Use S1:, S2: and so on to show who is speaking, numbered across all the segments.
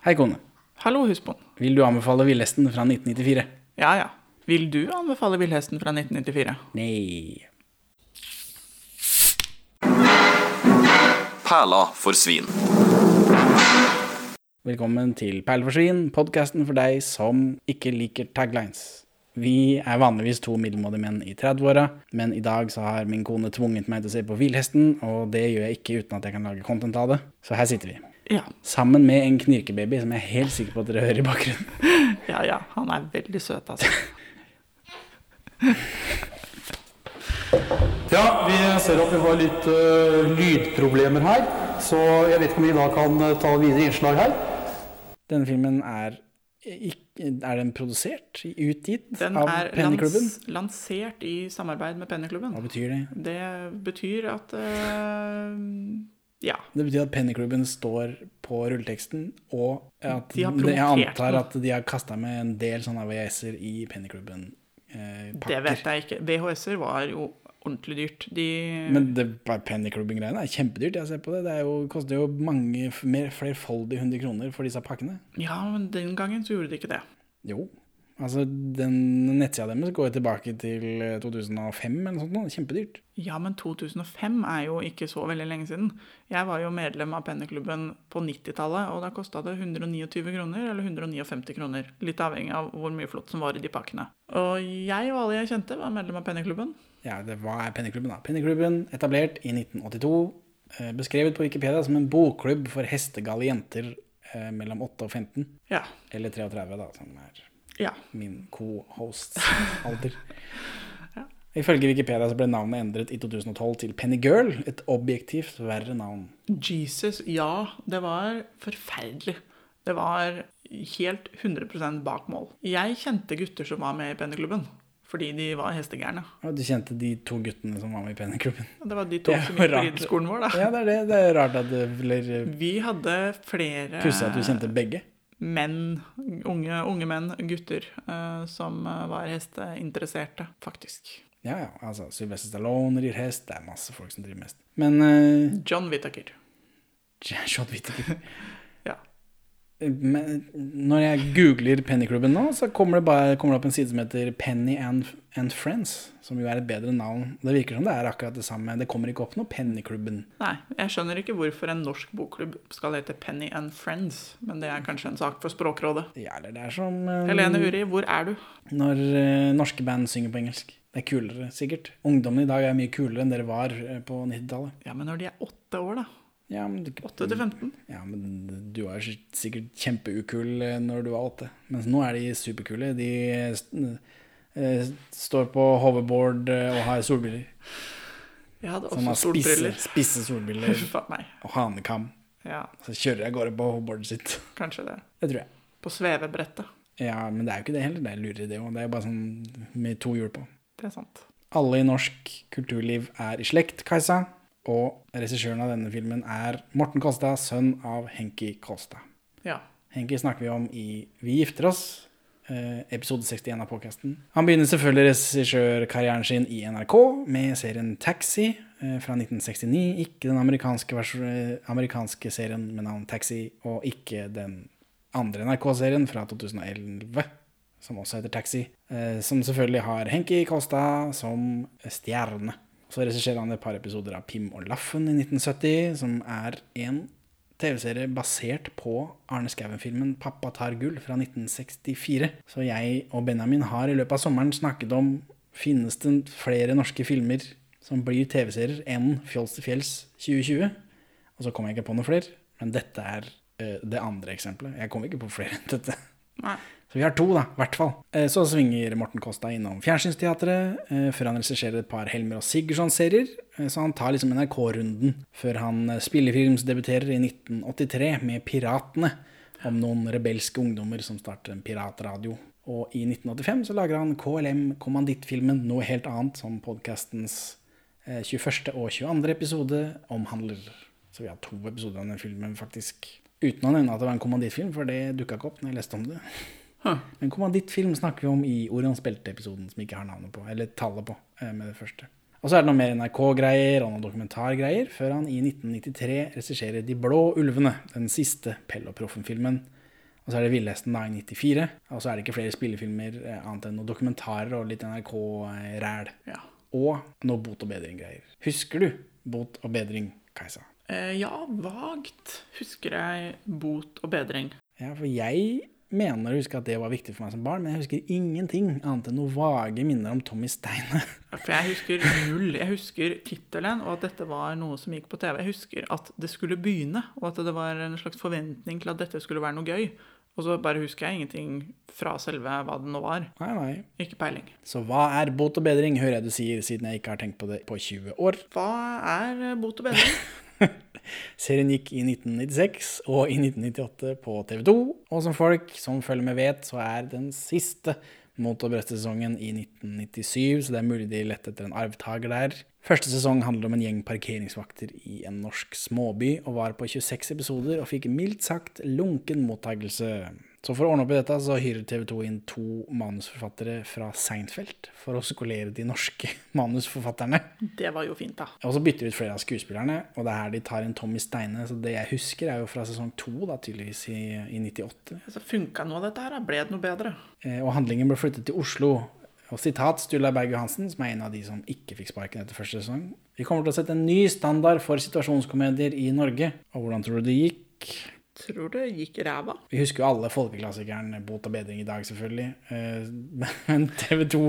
S1: Hei, kone.
S2: Hallo, husbond.
S1: Vil du anbefale Villesten fra 1994?
S2: Ja, ja. Vil du anbefale Villhesten fra 1994?
S1: Nei.
S3: Perla for svin.
S1: Velkommen til Perleforsvin, podkasten for deg som ikke liker taglines. Vi er vanligvis to middelmådige menn i 30-åra, men i dag så har min kone tvunget meg til å se på Villhesten, og det gjør jeg ikke uten at jeg kan lage content av det. Så her sitter vi.
S2: Ja.
S1: Sammen med en knirkebaby som jeg er helt sikker på at dere hører i bakgrunnen.
S2: Ja, ja. Han er veldig søt, altså.
S4: Ja, vi ser at vi har litt eh, lydproblemer her, så jeg vet ikke om vi da kan eh, ta videre innslag her.
S1: Denne filmen er ikke Er den produsert? Utgitt
S2: Den
S1: av
S2: er
S1: Penneklubben?
S2: lans lansert i samarbeid med Penneklubben.
S1: Hva betyr det?
S2: Det betyr at eh, Ja.
S1: Det betyr at penneklubben står på rulleteksten, og at
S2: De har
S1: jeg
S2: promotert
S1: antar
S2: den.
S1: at de har kasta med en del sånne VHS-er i eh, penneklubben-pakker.
S2: Det vet jeg ikke. VHS-er var jo ordentlig dyrt. De
S1: Men det penneklubben-greiene er kjempedyrt. jeg ser på Det Det er jo, koster jo mange f- mer flerfoldige hundre kroner for disse pakkene.
S2: Ja, men den gangen så gjorde de ikke det.
S1: Jo. Altså, den nettsida deres går jo tilbake til eh, 2005 eller noe sånt. nå. Kjempedyrt.
S2: Ja, men 2005 er jo ikke så veldig lenge siden. Jeg var jo medlem av penneklubben på 90-tallet, og da kosta det 129 kroner eller 159 kroner. Litt avhengig av hvor mye flott som var i de pakkene. Og jeg og alle jeg kjente, var medlem av penneklubben.
S1: Ja, det, hva er Penneklubben, da? Penneklubben, etablert i 1982, eh, beskrevet på Wikipedia som en bokklubb for hestegale jenter eh, mellom 8 og 15.
S2: Ja.
S1: Eller 33, da, som er
S2: Ja.
S1: min co-hosts alder. Ifølge Wikipedia så ble navnet endret i 2012 til Pennygirl, et objektivt verre navn.
S2: Jesus, ja, det var forferdelig. Det var helt 100 bak mål. Jeg kjente gutter som var med i penneklubben, fordi de var hestegærne.
S1: Og du kjente de to guttene som var med i Penneklubben?
S2: Og Det var de to
S1: Det
S2: som
S1: var
S2: gikk på
S1: rart.
S2: rideskolen vår, da.
S1: Ja, det er det. Det er rart at det blir eh,
S2: Vi hadde flere
S1: pussig at du kjente begge.
S2: menn, unge, unge menn, gutter, eh, som eh, var hesteinteresserte, faktisk.
S1: Ja, ja. Altså, Sylvester Stallone rir hest. Det er masse folk som driver med hest. Men eh,
S2: John Whittaker.
S1: John Whittaker Eh,
S2: Ja.
S1: Men når jeg googler Pennyklubben nå, så kommer det, bare, kommer det opp en side som heter Penny and, and Friends, som jo er et bedre navn. Det virker som det er akkurat det samme. Det kommer ikke opp noe Pennyklubben.
S2: Nei, jeg skjønner ikke hvorfor en norsk bokklubb skal hete Penny and Friends, men det er kanskje en sak for Språkrådet.
S1: Ja, eller det er som eh,
S2: Helene Uri, hvor er du?
S1: når eh, norske band synger på engelsk. Det er kulere, sikkert. Ungdommen i dag er mye kulere enn dere var eh, på 90-tallet.
S2: Ja, men når de er åtte år, da.
S1: Ja, men du-
S2: 8 til 15.
S1: Ja, men du var sikkert kjempeukul eh, når du var åtte. Mens nå er de superkule. De eh, st- eh, står på hoverboard eh, og har solbriller.
S2: Jeg hadde
S1: Som
S2: også
S1: har spisse,
S2: solbriller.
S1: spisse solbriller
S2: Faen meg.
S1: og hanekam.
S2: Ja,
S1: Så kjører jeg av gårde på hoverboardet sitt.
S2: kanskje det.
S1: Det tror jeg.
S2: På svevebrettet.
S1: Ja, men det er jo ikke det heller. Det er lurer det òg. Det er jo bare sånn med to hjul på.
S2: Det er sant.
S1: Alle i norsk kulturliv er i slekt, Kajsa. Og regissøren av denne filmen er Morten Kolstad, sønn av Henki Kolstad.
S2: Ja.
S1: Henki snakker vi om i Vi gifter oss, eh, episode 61 av podkasten. Han begynner selvfølgelig regissørkarrieren sin i NRK med serien Taxi eh, fra 1969. Ikke den amerikanske, vers- eh, amerikanske serien med navn Taxi, og ikke den andre NRK-serien fra 2011, som også heter Taxi. eh, Som selvfølgelig har Henki Kolstad som stjerne. Så regisserer han et par episoder av Pim og Laffen i 1970, som er en TV-serie basert på Arne Skouen-filmen 'Pappa tar gull' fra 1964. Så jeg og Benjamin har i løpet av sommeren snakket om finnes det flere norske filmer som blir TV-serier enn 'Fjols til fjells 2020'. Og så kom jeg ikke på noen flere, men dette er eh, det andre eksempelet. Jeg kom ikke på flere enn dette.
S2: Nei.
S1: Så vi har to, da, i hvert fall. Eh, Så svinger Morten Kosta innom Fjernsynsteatret, eh, før han regisserer et par Helmer og Sigurdsson-serier. Eh, Så han tar liksom NRK-runden, før han eh, spillefilmsdebuterer i 1983 med Piratene, om noen rebelske ungdommer som starter en piratradio. Og i 1985 så lager han KLM Kommandittfilmen Noe helt annet, som podkastens 21. og 22. episode omhandler. Så vi har to episoder av den filmen, faktisk. Uten å nevne at det var en kommandittfilm, for det dukka ikke opp når jeg leste om det. En kommandittfilm snakker vi om i Orions belte-episoden, som vi ikke har navnet på, eller tallet på, eh, med det første. Og så er det noe mer NRK-greier og noen dokumentargreier, før han i 1993 regisserer De blå ulvene, den siste Pell og Proffen-filmen, Og så er det Villhesten da i 94. Og så er det ikke flere spillefilmer eh, annet enn noen dokumentarer og litt NRK-ræl.
S2: Ja.
S1: Og noe bot og bedring-greier. Husker du bot og bedring, Kajsa?
S2: Eh, ja, vagt husker jeg bot og bedring.
S1: Ja, for jeg mener å huske at det var viktig for meg som barn, men jeg husker ingenting annet enn noen vage minner om Tommy Steine.
S2: For jeg husker null. Jeg husker tittelen, og at dette var noe som gikk på TV. Jeg husker at det skulle begynne, og at det var en slags forventning til at dette skulle være noe gøy. Og så bare husker jeg ingenting fra selve hva det nå var.
S1: Nei, nei.
S2: Ikke peiling.
S1: Så hva er bot og bedring, hører jeg du sier, siden jeg ikke har tenkt på det på 20 år.
S2: Hva er bot og bedring?
S1: Serien gikk i 1996 og i 1998 på TV 2, og som folk som følger med vet, så er den siste mot- og brøstsesongen i 1997, så det er mulig de lette etter en arvtaker der. Første sesong handler om en gjeng parkeringsvakter i en norsk småby, og var på 26 episoder og fikk mildt sagt lunken mottagelse. Så for å ordne opp i dette, så hyrer TV 2 inn to manusforfattere fra Seinfeld for å skolere de norske manusforfatterne.
S2: Det var jo fint, da.
S1: Og så bytter de ut flere av skuespillerne, og det er her de tar en Tommy Steine. Så det jeg husker, er jo fra sesong to, da, tydeligvis, i, i 98.
S2: Altså, Funka noe av dette her? da? Ble det noe bedre?
S1: Eh, og handlingen ble flyttet til Oslo. Og sitat Sturla Berg Johansen, som er en av de som ikke fikk sparken etter første sesong. Vi kommer til å sette en ny standard for situasjonskomedier i Norge. Og hvordan tror du det gikk?
S2: Tror det gikk ræva.
S1: Vi husker jo alle folkeklassikeren Bot og bedring i dag, selvfølgelig. Eh, Men TV 2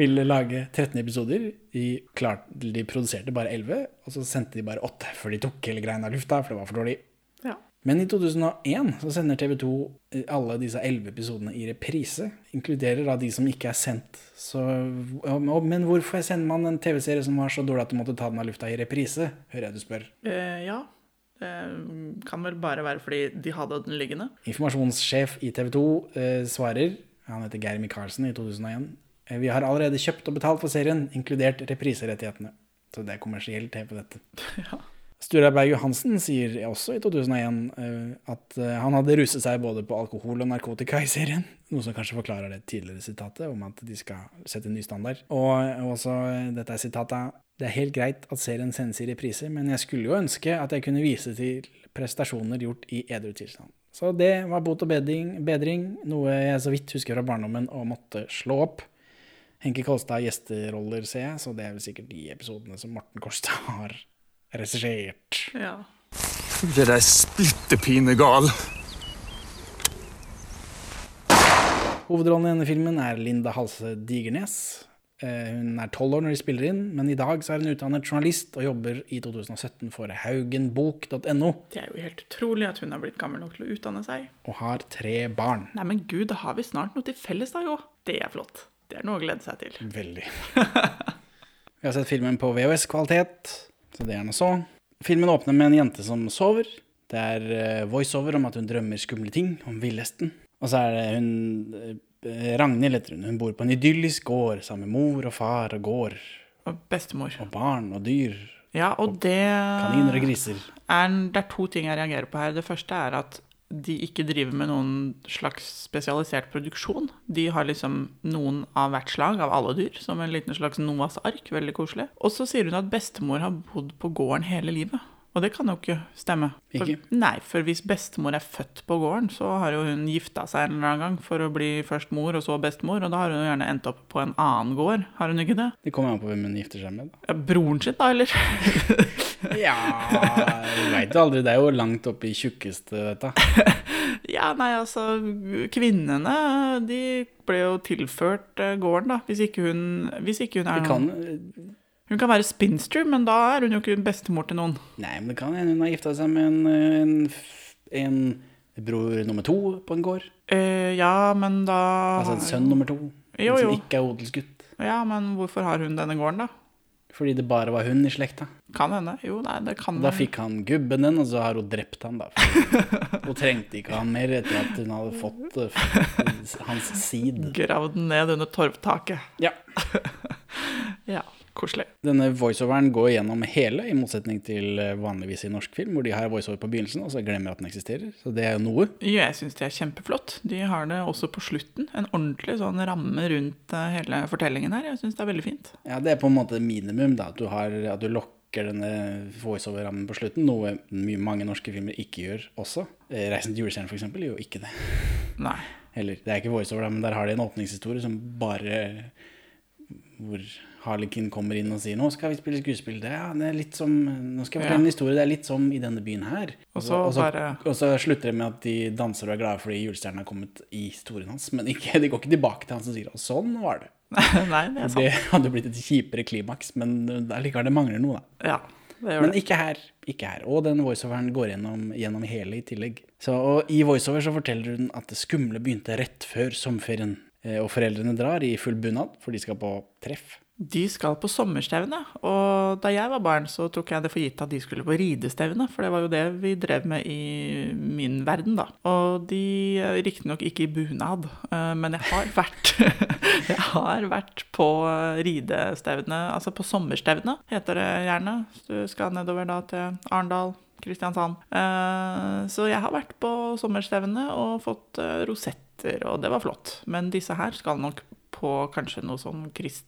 S1: ville lage 13 episoder. De, klarte, de produserte bare 11, og så sendte de bare 8 før de tok hele greia av lufta, for det var for dårlig.
S2: Ja.
S1: Men i 2001 så sender TV 2 alle disse 11 episodene i reprise. Inkluderer da de som ikke er sendt. Så, «Å, men hvorfor sender man en TV-serie som var så dårlig at du måtte ta den av lufta i reprise? Hører jeg du spør.
S2: Eh, ja. Det kan vel bare være fordi de hadde den liggende.
S1: Informasjonssjef i TV 2 eh, svarer, han heter Geir Michaelsen i 2001, eh, vi har allerede kjøpt og betalt for serien, inkludert repriserettighetene. Så det er kommersiell TV dette.
S2: Ja.
S1: Sturla Berg Johansen sier også i 2001 eh, at eh, han hadde ruset seg både på alkohol og narkotika i serien, noe som kanskje forklarer det tidligere sitatet om at de skal sette en ny standard. Og eh, også eh, dette er sitatet, det er helt greit at serien sendes i reprise, men jeg skulle jo ønske at jeg kunne vise til prestasjoner gjort i edru tilstand. Så det var bot og bedring, bedring, noe jeg så vidt husker fra barndommen og måtte slå opp. Henke Kolstad har gjesteroller, ser jeg, så det er vel sikkert de episodene som Morten Kolstad har regissert.
S2: ja.
S3: Det der splitter pinegal.
S1: Hovedrollen i denne filmen er Linda Halse Digernes. Eh, Hun er tolv år når de spiller inn, men i dag så er hun utdannet journalist og jobber i 2017 for haugenbok.no
S2: Det er jo helt utrolig at hun har blitt gammel nok til å utdanne seg.
S1: og har tre barn.
S2: Nei, men gud, da har vi snart noe til felles da, jo. Det er flott. Det er noe å glede seg til.
S1: Veldig. Vi har sett filmen på VHS-kvalitet, så det er noe så. Filmen åpner med en jente som sover. Det er eh, voiceover om at hun drømmer skumle ting, om villhesten. Og så er det hun eh, Ragnhild heter hun. Hun bor på en idyllisk gård sammen med mor og far og gård
S2: Og bestemor.
S1: og barn og dyr.
S2: Ja, og det
S1: Kaniner og griser.
S2: er, det er to ting jeg reagerer på her. Det første er at de ikke driver med noen slags spesialisert produksjon. De har liksom noen av hvert slag av alle dyr, som en liten slags Noas ark. Veldig koselig. Og så sier hun at bestemor har bodd på gården hele livet. Og det kan jo ikke stemme. For,
S1: Ikke?
S2: Nei, for hvis bestemor er født på gården, så har jo hun gifta seg en eller annen gang for å bli først mor og så bestemor, og da har hun jo gjerne endt opp på en annen gård, har hun ikke det?
S1: Det kommer an på hvem hun gifter seg med, da.
S2: Ja, broren sin, da, eller?
S1: Ja, du veit jo aldri. Det er jo langt opp i tjukkeste, dette.
S2: Ja, nei, altså Kvinnene de ble jo tilført eh, gården, da. Hvis ikke hun, hvis ikke hun er
S1: Det
S2: noen
S1: kan,
S2: Hun kan være spinster, men da er hun jo ikke bestemor til noen.
S1: nei, men det kan hende hun har gifta seg med en, eh, en, f- en bror nummer to på en gård.
S2: Eh, ja, men da
S1: Altså en sønn nummer to.
S2: Ah, Jo,
S1: en
S2: jo.
S1: Som ikke er odelsgutt.
S2: Ja, men hvorfor har hun denne gården, da?
S1: Fordi det bare var hun i slekta.
S2: Kan hende. Jo, nei, det kan
S1: Og da
S2: hun.
S1: fikk han gubben den, og så har hun drept han, da. For- Hun trengte ikke han mer etter at hun hadde fått eh, f- hans sid.
S2: Gravd den ned under torvtaket.
S1: Ja.
S2: Ja, koselig.
S1: Denne voiceoveren går gjennom hele, i motsetning til eh, vanligvis i norsk film, hvor de har voiceover på begynnelsen, og så glemmer at den eksisterer. Så det er jo noe.
S2: Ja, jeg syns det er kjempeflott. De har det også på slutten. En ordentlig sånn ramme rundt eh, hele fortellingen her. Jeg syns det er veldig fint.
S1: Ja, det er på en måte minimum, da. At du, har, at du lokker pakker denne voiceover-rammen på slutten, noe mye, mange norske filmer ikke gjør også. Eh, 'Reisen til julestjernen' for eksempel gjør jo ikke det.
S2: Nei.
S1: Heller. Det er ikke voiceover, da, men der har de en åpningshistorie som bare Hvor Harlekin kommer inn og sier 'Nå skal vi spille skuespill'. Det er, det er litt som Nå skal jeg fortelle
S2: Ja.
S1: en historie. Det er litt som i denne byen her.
S2: Og så
S1: og så,
S2: bare-
S1: og så slutter det med at de danser og er glade fordi julestjernen har kommet i historien hans, men ikke, de går ikke tilbake til han som sier 'Og sånn var det'.
S2: Nei, det er sant.
S1: Det hadde blitt et kjipere klimaks, men allikevel, det mangler noe, da.
S2: Ja, det gjør
S1: Men
S2: det.
S1: ikke her. ikke her. Og den voiceoveren går gjennom, gjennom hele i tillegg. Så, og I voiceover så forteller hun at det skumle begynte rett før sommerferien. Eh, Og foreldrene drar i full bunad, for de skal på treff.
S2: De skal på sommerstevne, og da jeg var barn, så tok jeg det for gitt at de skulle på ridestevne, for det var jo det vi drev med i min verden, da. Og de eh, riktignok ikke i bunad, eh, men jeg har vært Jeg har vært på eh, ridestevne, altså på sommerstevne, heter det gjerne. Hvis Du skal nedover da til Arendal. Kristiansand. Eh, Så jeg har vært på sommerstevne og fått eh, rosetter, og det var flott. Men disse her skal nok på kanskje noe sånn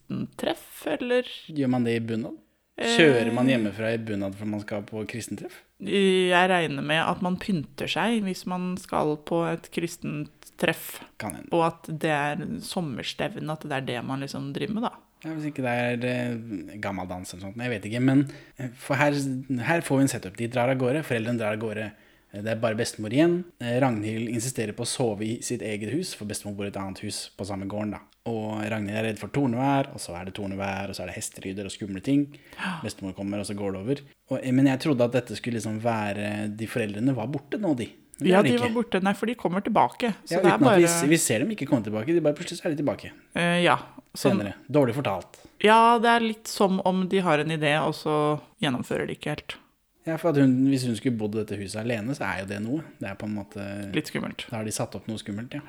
S2: kristentreff, eller
S1: Gjør man det i bunad?
S2: Eh.
S1: Kjører man hjemmefra i bunad for man skal på kristentreff?
S2: Jeg regner med at man pynter seg hvis man skal på et kristent treff,
S1: Kan hende.
S2: og at det er sommerstevne, at det er det man liksom driver med, da.
S1: Ja, hvis ikke det er eh, gammel dans eller sånt, men jeg vet ikke. Men eh, for her, her får vi en setup. De drar av gårde, foreldrene drar av gårde. Eh, Det er bare bestemor igjen. Eh, Ragnhild insisterer på å sove i sitt eget hus, for bestemor bor i et annet hus på samme gården. da. Og Ragnhild er redd for tornevær, og så er det tornevær, og så er det hestelyder og skumle ting. Bestemor kommer, og så går det over. Og, eh, men jeg trodde at dette skulle liksom være De foreldrene var borte nå, de. Men det
S2: Ja,
S1: er
S2: de
S1: ikke.
S2: var borte. Nei, for de kommer tilbake. Så
S1: Ja, uten
S2: det er bare
S1: at vi, vi ser dem ikke komme tilbake. De bare plutselig så er de tilbake
S2: Eh, Ja. Sånn,
S1: senere. Dårlig fortalt.
S2: Ja, det er litt som om de har en idé, og så gjennomfører de ikke helt.
S1: Ja, for at hun, Hvis hun skulle bodd i dette huset alene, så er jo det noe. Det er på en måte...
S2: Litt skummelt.
S1: Da har de satt opp noe skummelt, ja.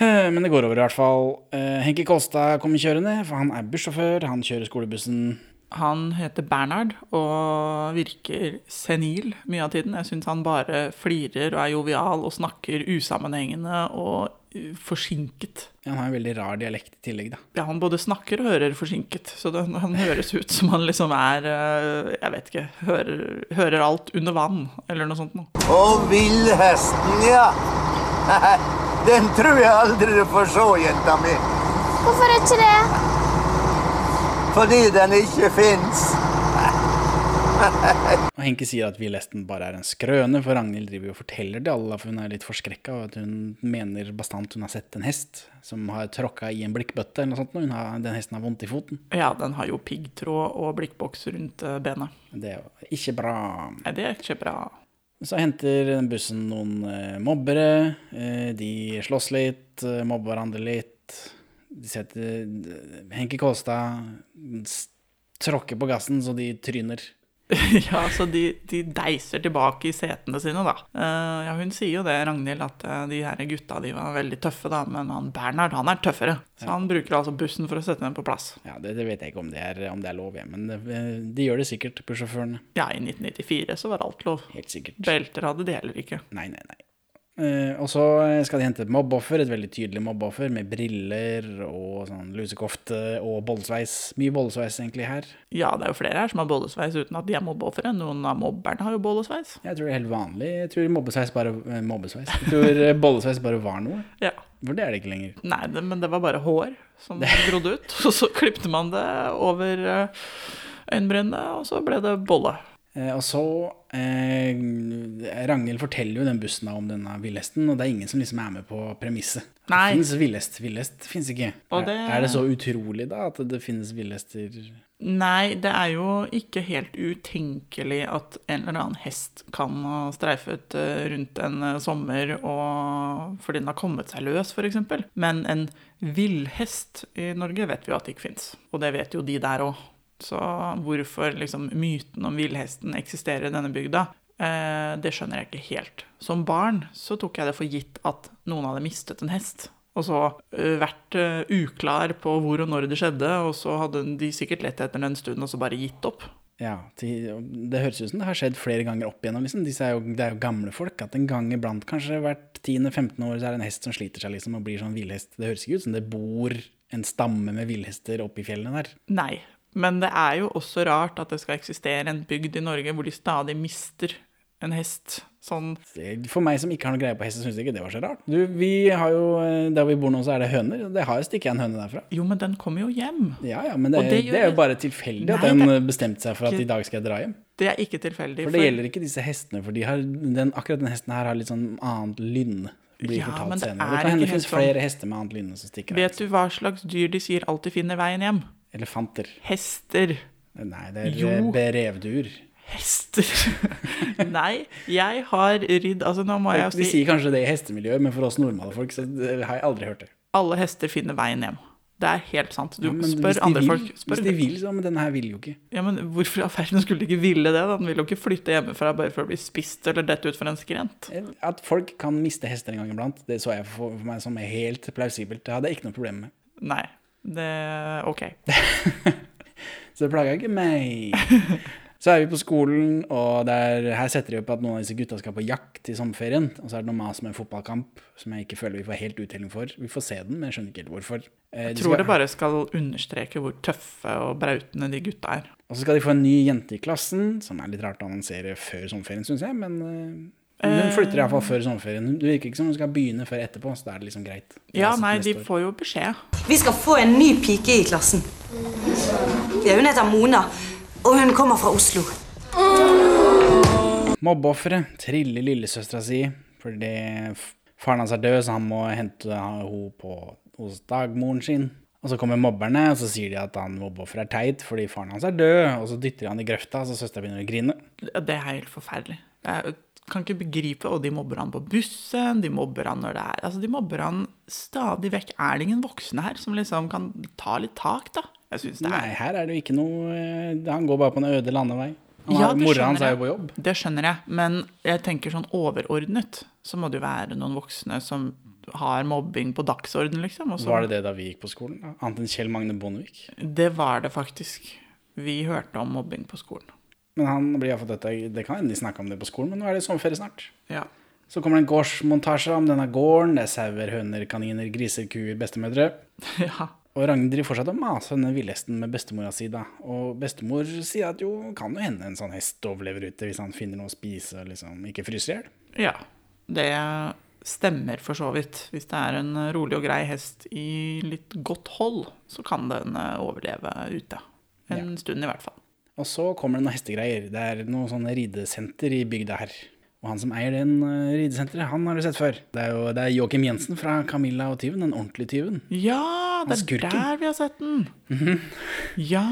S1: Eh, Men det går over i hvert fall. Eh, Henke Kolstad kommer kjørende, for han er bussjåfør. Han kjører skolebussen.
S2: Han heter Bernhard og virker senil mye av tiden. Jeg syns han bare flirer og er jovial og snakker usammenhengende og eh, forsinket.
S1: Ja, Han har en veldig rar dialekt i tillegg, da.
S2: Ja, han både snakker og hører forsinket, så det, han høres ut som han liksom er eh, Jeg vet ikke hører, hører alt under vann, eller noe sånt noe.
S5: Og villhesten, ja. Den tror jeg aldri du får se, jenta mi.
S6: Hvorfor ikke det?
S5: Fordi den ikke fins.
S1: Og Henke sier at villesten bare er en skrøne, for Ragnhild driver jo og forteller til alle, for hun er litt forskrekka, og at hun mener bastant hun har sett en hest som har tråkka i en blikkbøtte eller noe sånt. og Hun har, den hesten har vondt i foten.
S2: Ja, den har jo piggtråd og blikkboks rundt eh, benet.
S1: Det er jo ikke bra.
S2: Nei, det er ikke bra.
S1: Så henter den bussen noen eh, mobbere. Eh, de slåss litt, eh, mobber hverandre litt. De setter eh, Henke Kolstad mm, s- tråkker på gassen, så de tryner.
S2: Ja, så de, de deiser tilbake i setene sine, da. Eh, ja, hun sier jo det, Ragnhild, at eh, de her gutta de var veldig tøffe, da, men han Bernhard han er tøffere. Så han bruker altså bussen for å sette dem på plass.
S1: Ja, det, det vet jeg ikke om det er, om det er lov, jeg, men eh, de gjør det sikkert, bussjåførene.
S2: Ja, i 1994 så var alt lov.
S1: Helt sikkert.
S2: Belter hadde de heller ikke.
S1: Nei, nei, nei. Eh, og så skal de hente et mobbeoffer, et veldig tydelig mobbeoffer, med briller og sånn lusekofte og bollesveis. Mye bollesveis egentlig her.
S2: Ja, det er jo flere her som har bollesveis uten at de er mobbeofre. Noen av mobberne har jo bollesveis.
S1: Jeg tror det er helt vanlig. Jeg tror mobbesveis bare eh, Mobbesveis. Jeg tror eh, bollesveis bare var noe.
S2: Ja.
S1: For det er det ikke lenger.
S2: Nei, det, men det var bare hår som grodde ut. Og så klipte man det over eh, øyenbrynene, og så ble det bolle.
S1: Eh, og så eh, Ragnhild forteller jo den bussen da om denne villhesten, og det er ingen som liksom er med på premisset.
S2: Nei.
S1: Det fins villhest. Villhest fins ikke.
S2: Og det-
S1: Er, er det så utrolig, da, at det finnes villhester
S2: Nei, det er jo ikke helt utenkelig at en eller annen hest kan ha streifet eh, rundt en eh, sommer og fordi den har kommet seg løs, f.eks. Men en villhest i Norge vet vi jo at ikke fins. Og det vet jo de der òg. Så hvorfor liksom myten om villhesten eksisterer i denne bygda, eh, det skjønner jeg ikke helt. Som barn så tok jeg det for gitt at noen hadde mistet en hest. Og så eh, vært eh, uklar på hvor og når det skjedde, og så hadde de sikkert lett etter den en stund og så bare gitt opp.
S1: Ja, til, det høres ut som det har skjedd flere ganger opp igjennom. Liksom. Disse er jo, det er jo gamle folk. At en gang iblant, kanskje hvert 10.-15. år, så er det en hest som sliter seg liksom, og blir sånn villhest. Det høres ikke ut som det bor en stamme med villhester oppe i fjellene der.
S2: Nei. Men det er jo også rart at det skal eksistere en bygd i Norge hvor de stadig mister en hest. Sånn
S1: Det- For meg som ikke har noe greie på hester, syns jeg ikke det var så rart. Du, vi har jo, eh, Der vi bor nå, så er det høner. Det har jo stikket en høne derfra.
S2: Jo, men den kommer jo hjem.
S1: Ja, ja, Men det,
S2: Og
S1: er-
S2: det
S1: det,
S2: gjør
S1: er jo
S2: det-
S1: bare tilfeldig at
S2: Nei,
S1: den
S2: det
S1: eh, bestemte seg for at
S2: ikke-
S1: i dag skal jeg dra hjem.
S2: Det er ikke tilfeldig.
S1: For det gjelder ikke disse hestene, for de har, den, akkurat den hesten her har litt sånn annet lynn. Blir
S2: Ja, men
S1: fortalt
S2: det
S1: senere.
S2: er
S1: Det kan hende
S2: ikke
S1: det finnes
S2: helt sånn.
S1: flere hester med annet lynne som stikker av.
S2: Vet du hva slags dyr de sier alltid finner veien hjem?
S1: Elefanter.
S2: Hester.
S1: Nei, det er
S2: Jo.
S1: eh, brevduer.
S2: Hester. Nei, jeg har ridd Altså, nå må jeg
S1: De
S2: jo si
S1: sier kanskje det i hestemiljøet, men for oss normale folk så det har jeg aldri hørt det.
S2: alle hester finner veien hjem. Det er helt sant. Du
S1: Ja, men hvis
S2: spør
S1: de
S2: andre
S1: vil,
S2: folk spør,
S1: Hvis de vil, så, men denne her vil jo ikke.
S2: Ja, men Hvorfor i all verden skulle de ikke ville det? da? Den vil jo ikke flytte hjemmefra bare for å bli spist eller dette ut for en skrent.
S1: Eh, At folk kan miste hester en gang iblant, det så jeg for, for meg som er helt plausibelt. Det hadde jeg ikke noe problem med.
S2: Nei. Det OK.
S1: Så det plaga ikke meg. Så er vi på skolen, og der, her setter de opp at noen av disse gutta skal på jakt i sommerferien. Og så er det noe mas med en fotballkamp som jeg ikke føler vi får helt uttelling for. Vi får se den, men jeg skjønner ikke helt hvorfor. Eh, de
S2: Tror
S1: skal-
S2: det bare skal understreke hvor tøffe og brautende de gutta er.
S1: Og så skal de få en ny jente i klassen, som er litt rart å annonsere før sommerferien, syns jeg. Men eh, hun flytter iallfall før sommerferien. Hun- Det virker ikke som hun skal begynne før etterpå, så da er det liksom greit.
S2: Ja,
S1: Altså,
S2: nei,
S1: neste
S2: de
S1: år.
S2: får jo beskjed.
S6: Vi skal få en ny pike i klassen. Ja, hun heter Mona, og hun kommer fra Oslo.
S1: Mobbeofferet triller lillesøstera si fordi f- faren hans er død, så han må hente henne på, hos dagmoren sin. Og så kommer mobberne, og så sier de at han mobbeofferet er teit fordi faren hans er død. Og så dytter de han i grøfta, så søstera begynner å grine.
S2: Det er helt forferdelig. Jeg kan ikke begripe, og de mobber han på bussen, de mobber han når det er Altså, de mobber han stadig vekk. Er det ingen voksne her som liksom kan ta litt tak, da? Jeg syns det er
S1: Nei, her er det jo ikke noe eh, Han går bare på en øde landevei. Han
S2: Ja,
S1: har-
S2: det
S1: Mora hans
S2: skjønner
S1: er
S2: jeg.
S1: jo på jobb.
S2: Det skjønner jeg, men jeg tenker sånn overordnet så må det jo være noen voksne som har mobbing på dagsorden, liksom. Og så,
S1: Var det det da vi gikk på skolen? da? Annet enn Kjell Magne Bondevik.
S2: det var det faktisk. Vi hørte om mobbing på skolen.
S1: Men han blir iallfall dette Det kan hende de snakka om det på skolen, men nå er det sommerferie snart.
S2: Ja.
S1: Så kommer det en gårdsmontasje om denne gården. Det er sauer, høner, kaniner, griser, kuer, bestemødre.
S2: ja.
S1: Og Ragnhild driver fortsatt og maser denne villhesten med bestemora si, da. Og bestemor sier at jo, kan jo hende en sånn hest overlever ute hvis han finner noe å spise og liksom ikke fryser i hjel.
S2: Ja. Det stemmer for så vidt. Hvis det er en rolig og grei hest i litt godt hold, så kan den eh, overleve ute. En stund i hvert fall.
S1: Og så kommer det noen hestegreier. Det er noe sånn ridesenter i bygda her. Og han som eier den eh, ridesenteret, han har du sett før. Det er jo det er Joakim Jensen fra 'Camilla og tyven', den ordentlige tyven.
S2: Ja, det er
S1: skurken. Mhm.
S2: der vi har sett den! Ja!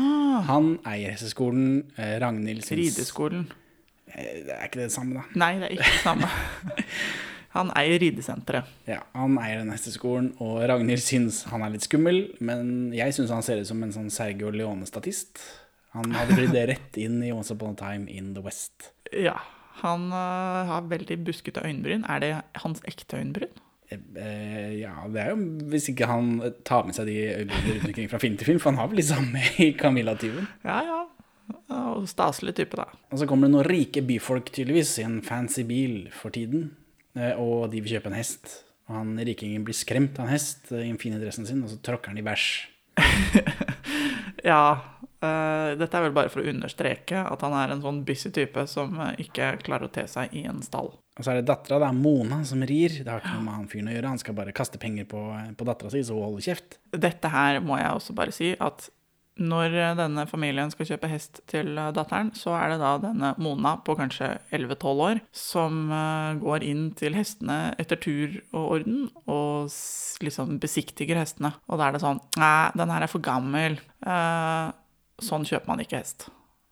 S1: Han eier hesteskolen. eh, Ragnhild syns
S2: Rideskolen.
S1: Det er ikke det samme, da.
S2: Nei, det er ikke det samme. Han eier ridesenteret.
S1: Ja, Han eier den hesteskolen, og Ragnhild syns han er litt skummel, men jeg syns han ser ut som en sånn Sergio Leone-statist. Han hadde blitt det rett inn i Once upon a time in the West.
S2: Ja. Han øh, har veldig buskete øyenbryn. Er det hans ekte øyenbryn?
S1: Eh, eh, ja, det er jo hvis ikke han tar med seg de øyebrynene rundt omkring fra film til film, for han har vel de samme i Camilla-tyven.
S2: Ja, ja. Og staselig type, da.
S1: Og så kommer det noen rike byfolk, tydeligvis, i en fancy bil for tiden, eh, og de vil kjøpe en hest. Og han rikingen blir skremt av en hest eh, i den fine dressen sin, og så tråkker han i bæsj.
S2: Ja. øh, dette er vel bare for å understreke at han er en sånn busy type som øh, ikke klarer å te seg i en stall.
S1: Og så er det dattera, det er Mona, som rir. Det har ikke noe med han fyren å gjøre. Han skal bare kaste penger på, på dattera si, så hun holder kjeft.
S2: Dette her må jeg også bare si at når øh, denne familien skal kjøpe hest til øh, datteren, så er det da denne Mona på kanskje 11-12 år som øh, går inn til hestene etter tur og orden og s- liksom besiktiger hestene. Og da er det sånn Nei, den her er for gammel. Eh, sånn kjøper man ikke hest.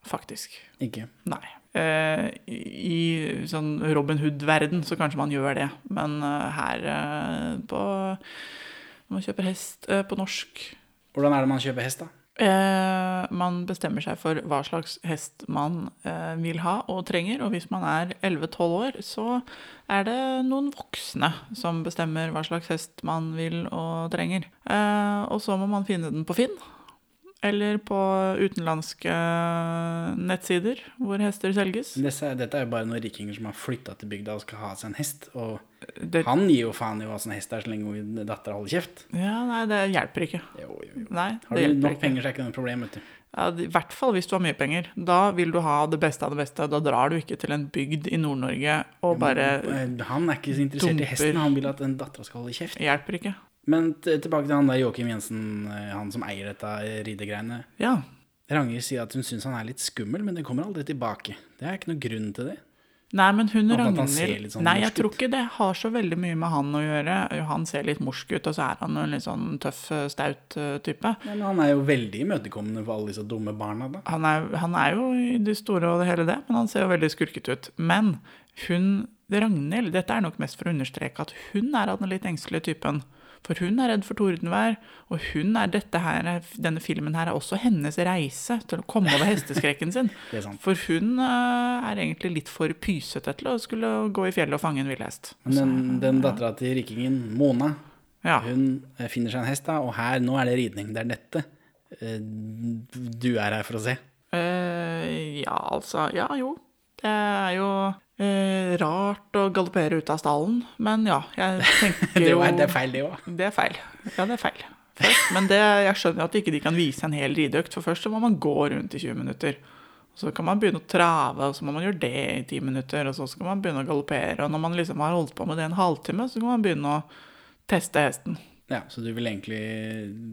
S2: Faktisk.
S1: Ikke.
S2: Nei. Eh, I i sånn Robin Hood-verden så kanskje man gjør det, men eh, her eh, på Når man kjøper hest eh, på norsk
S1: Hvordan er det man kjøper hest, da?
S2: eh, Man bestemmer seg for hva slags hest man eh, vil ha og trenger, og hvis man er 11-12 år, så er det noen voksne som bestemmer hva slags hest man vil og trenger. Eh, og så må man finne den på Finn. Eller på utenlandske eh, nettsider hvor hester selges.
S1: Disse, dette er jo bare noen rikinger som har flytta til bygda og skal ha seg en hest. Og
S2: Det,
S1: han gir jo faen i hva som hest er, så lenge dattera holder kjeft.
S2: ja, nei, det hjelper ikke.
S1: Jo, jo, jo.
S2: Nei,
S1: Har
S2: det
S1: du
S2: hjelper
S1: nok
S2: ikke.
S1: penger, så er ikke det noe problem, vet du.
S2: Ja, I hvert fall hvis du har mye penger. Da vil du ha det beste av det beste. Da drar du ikke til en bygd i Nord-Norge og bare
S1: Eh, Han er ikke så interessert
S2: Dumper.
S1: i hesten, han vil at en datter skal holde kjeft.
S2: Hjelper ikke.
S1: Men t- tilbake til han der Joakim Jensen, eh, han som eier dette eh, ridegreiene.
S2: Ja.
S1: Ranger sier at hun syns han er litt skummel, men det kommer aldri tilbake. Det er ikke noe grunn til det.
S2: Nei, men hun
S1: At han
S2: Ragnhild
S1: ser litt sånn
S2: Nei, jeg
S1: morsk
S2: tror
S1: ut.
S2: ikke det har så veldig mye med han å gjøre. Han ser litt morsk ut, og så er han en litt sånn tøff, eh, staut eh, type.
S1: Nei, men han er jo veldig imøtekommende for alle disse dumme barna, da.
S2: han er, han er jo i det store og det hele det, men han ser jo veldig skurket ut. Men hun, Ragnhild, dette er nok mest for å understreke at hun er av den litt engstelige typen. For hun er redd for tordenvær, og hun er dette her, denne filmen her er også hennes reise til å komme over hesteskrekken sin.
S1: Det er sant.
S2: For hun eh, er egentlig litt for pysete til å skulle gå i fjellet og fange en villhest.
S1: Men den, den dattera til rikingen, Mona,
S2: Ja.
S1: hun eh, finner seg en hest, da, og her, nå er det ridning. Det er dette eh, du er her for å se.
S2: Eh, ja, altså Ja, jo. Det er jo eh, rart å galoppere ut av stallen, men ja, jeg tenker
S1: Det,
S2: jo
S1: var, det er feil, det òg.
S2: Det er feil. Ja, det er feil. Først, men det, jeg skjønner jo at ikke de kan vise en hel rideøkt, for først så må man gå rundt i 20 minutter. Og så kan man begynne å trave, og så må man gjøre det i 10 minutter, og så skal man begynne å galoppere. Og når man liksom har holdt på med det en halvtime, så kan man begynne å teste hesten.
S1: Ja, så du vil egentlig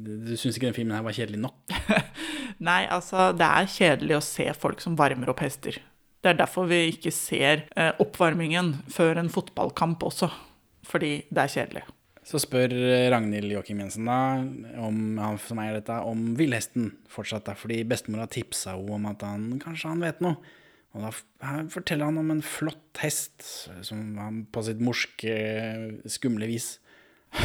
S1: Du syns ikke den filmen her var kjedelig nok?
S2: Nei, altså, det er kjedelig å se folk som varmer opp hester. Det er derfor vi ikke ser eh, oppvarmingen før en fotballkamp også. Fordi det er kjedelig.
S1: Så spør eh, Ragnhild Joakim Jensen, da, om han som eier dette, om villhesten fortsatt. da, Fordi bestemor har tipsa henne om at han kanskje han vet noe. Og da f- her forteller han om en flott hest som han på sitt morske, skumle vis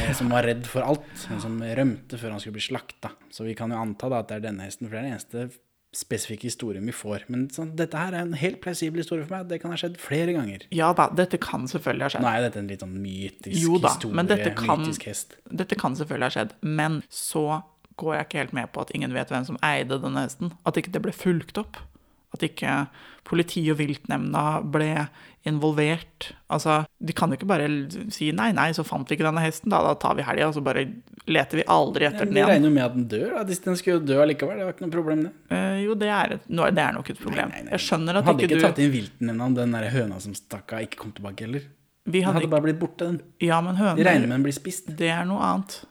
S1: eh, Som var redd for alt, men som rømte før han skulle bli slakta. Så vi kan jo anta da at det er denne hesten, for det er den eneste spesifikke historien vi får. Men sånn, dette her er en helt plausibel historie for meg. Det kan ha skjedd flere ganger.
S2: Ja da, dette kan selvfølgelig ha skjedd.
S1: Nå er jo dette en litt sånn mytisk
S2: Jo da,
S1: historie,
S2: men dette kan-
S1: mytisk hest.
S2: Dette kan selvfølgelig ha skjedd, men så går jeg ikke helt med på at ingen vet hvem som eide denne hesten. At ikke det ble fulgt opp. At ikke politi og viltnemnda ble involvert. Altså, de kan jo ikke bare l- si nei, nei, så fant vi ikke denne hesten, da, da tar vi helga, og så bare leter vi aldri
S1: Ja,
S2: etter
S1: men
S2: den
S1: Vi
S2: igjen.
S1: regner jo med at den dør. Da. Den skulle jo dø allikevel. Det var ikke noe problem, det.
S2: Eh, jo, det er, et, nå- det er nok et problem.
S1: Nei, nei,
S2: Jeg skjønner at
S1: Hadde ikke,
S2: ikke du
S1: tatt inn viltnemnda om den der høna som stakk av, ikke kom tilbake heller.
S2: Vi
S1: Den
S2: hadde
S1: hadde
S2: ikke
S1: bare blitt borte, den.
S2: Ja, men
S1: De regner
S2: høner,
S1: med den blir spist.
S2: det er noe annet.